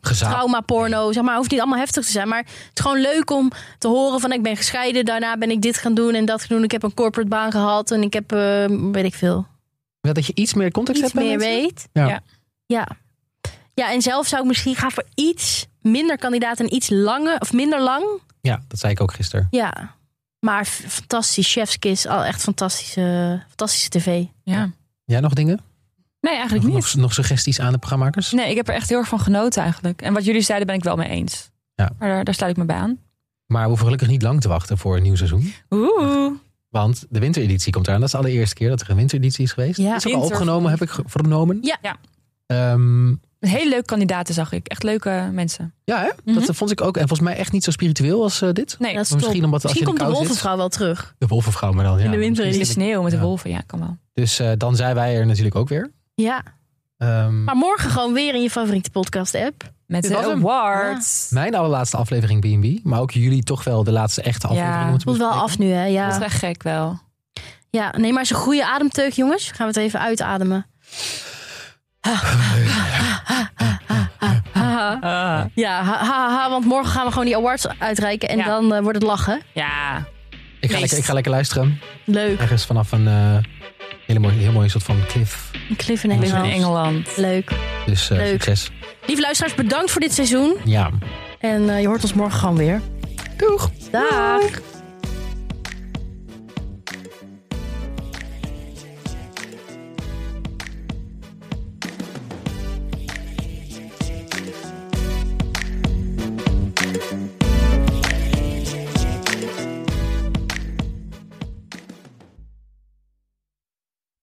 [SPEAKER 1] gezaam-
[SPEAKER 2] trauma porno, zeg maar, hoeft niet allemaal heftig te zijn. Maar het is gewoon leuk om te horen van ik ben gescheiden, daarna ben ik dit gaan doen en dat gaan doen. Ik heb een corporate baan gehad en ik heb, eh, weet ik veel,
[SPEAKER 1] Ja, dat je iets meer context
[SPEAKER 2] iets
[SPEAKER 1] hebt bij
[SPEAKER 2] meer
[SPEAKER 1] mensen.
[SPEAKER 2] weet.
[SPEAKER 1] Ja.
[SPEAKER 3] Ja.
[SPEAKER 2] ja. Ja, en zelf zou ik misschien gaan voor iets minder kandidaten en iets langer, of minder lang.
[SPEAKER 1] Ja, dat zei ik ook gisteren.
[SPEAKER 2] Ja. Maar f- fantastisch, chefskiss, al echt fantastische, fantastische tv.
[SPEAKER 3] Ja.
[SPEAKER 1] Jij nog dingen?
[SPEAKER 3] Nee,
[SPEAKER 1] Nog,
[SPEAKER 3] eigenlijk niet.
[SPEAKER 1] nog, nog suggesties aan de programmakers?
[SPEAKER 3] Nee, ik heb er echt heel erg van genoten eigenlijk. En wat jullie zeiden ben ik wel mee eens.
[SPEAKER 1] Ja.
[SPEAKER 3] Maar daar, daar sluit ik me bij aan.
[SPEAKER 1] Maar we hoeven gelukkig niet lang te wachten voor een nieuw seizoen.
[SPEAKER 3] Oeh.
[SPEAKER 1] Want de wintereditie komt eraan. Dat is de allereerste keer dat er een wintereditie is geweest.
[SPEAKER 2] Ja.
[SPEAKER 1] is ook al
[SPEAKER 3] Winter-
[SPEAKER 1] opgenomen, heb ik ge- vernomen.
[SPEAKER 2] Ja.
[SPEAKER 3] Ja.
[SPEAKER 1] Ehm,
[SPEAKER 3] Hele leuke kandidaten zag ik. Echt leuke mensen.
[SPEAKER 1] ja, hè?
[SPEAKER 3] Mhm.
[SPEAKER 1] dat eh, vond ik ook. En volgens mij echt niet zo spiritueel als eh, dit.
[SPEAKER 3] Nee,
[SPEAKER 2] Dat is
[SPEAKER 1] Maar
[SPEAKER 2] top.
[SPEAKER 1] misschien omdat als
[SPEAKER 2] Misschien
[SPEAKER 1] je in
[SPEAKER 2] komt
[SPEAKER 1] de
[SPEAKER 2] de
[SPEAKER 1] kou zit-
[SPEAKER 2] wolvenvrouw wel terug.
[SPEAKER 1] De wolvenvrouw, maar dan ja.
[SPEAKER 2] In de winter.
[SPEAKER 3] in de
[SPEAKER 1] misschien is
[SPEAKER 3] sneeuw met de
[SPEAKER 1] Ja.
[SPEAKER 3] wolven. Ja, kan wel.
[SPEAKER 1] het- Dus eh, dan zijn wij er natuurlijk ook weer.
[SPEAKER 2] Ja.
[SPEAKER 1] Ehm,
[SPEAKER 2] Maar morgen gewoon weer in je favoriete podcast-app.
[SPEAKER 3] Met
[SPEAKER 1] Dit
[SPEAKER 3] de
[SPEAKER 1] was hem.
[SPEAKER 3] awards.
[SPEAKER 1] mijn allerlaatste aflevering B&B. Maar ook jullie toch wel de laatste echte aflevering. om het te
[SPEAKER 2] Voelt wel
[SPEAKER 1] bespreken.
[SPEAKER 2] af nu, hè? Ja.
[SPEAKER 3] Dat is echt gek wel.
[SPEAKER 2] Ja, neem maar eens een goede ademteug, jongens. Gaan we het even uitademen.
[SPEAKER 3] Ah.
[SPEAKER 2] Ja, ha, ha, ha, want morgen gaan we gewoon die awards uitreiken. En
[SPEAKER 3] Ja.
[SPEAKER 2] dan eh, wordt het lachen.
[SPEAKER 3] Ja.
[SPEAKER 1] Ik ga,
[SPEAKER 3] Meest.
[SPEAKER 1] lekker, ik ga lekker luisteren.
[SPEAKER 2] Leuk.
[SPEAKER 1] Ergens vanaf een eh, hele mooie, heel mooie soort van cliff.
[SPEAKER 2] Een cliff in
[SPEAKER 1] Cliff
[SPEAKER 3] In
[SPEAKER 2] Engeland.
[SPEAKER 3] Engeland.
[SPEAKER 2] Leuk.
[SPEAKER 1] Dus eh,
[SPEAKER 2] Leuk.
[SPEAKER 1] succes.
[SPEAKER 2] Lieve luisteraars, bedankt voor dit seizoen.
[SPEAKER 1] Ja.
[SPEAKER 2] En eh, je hoort ons morgen gewoon weer.
[SPEAKER 1] Doeg.
[SPEAKER 2] Dag.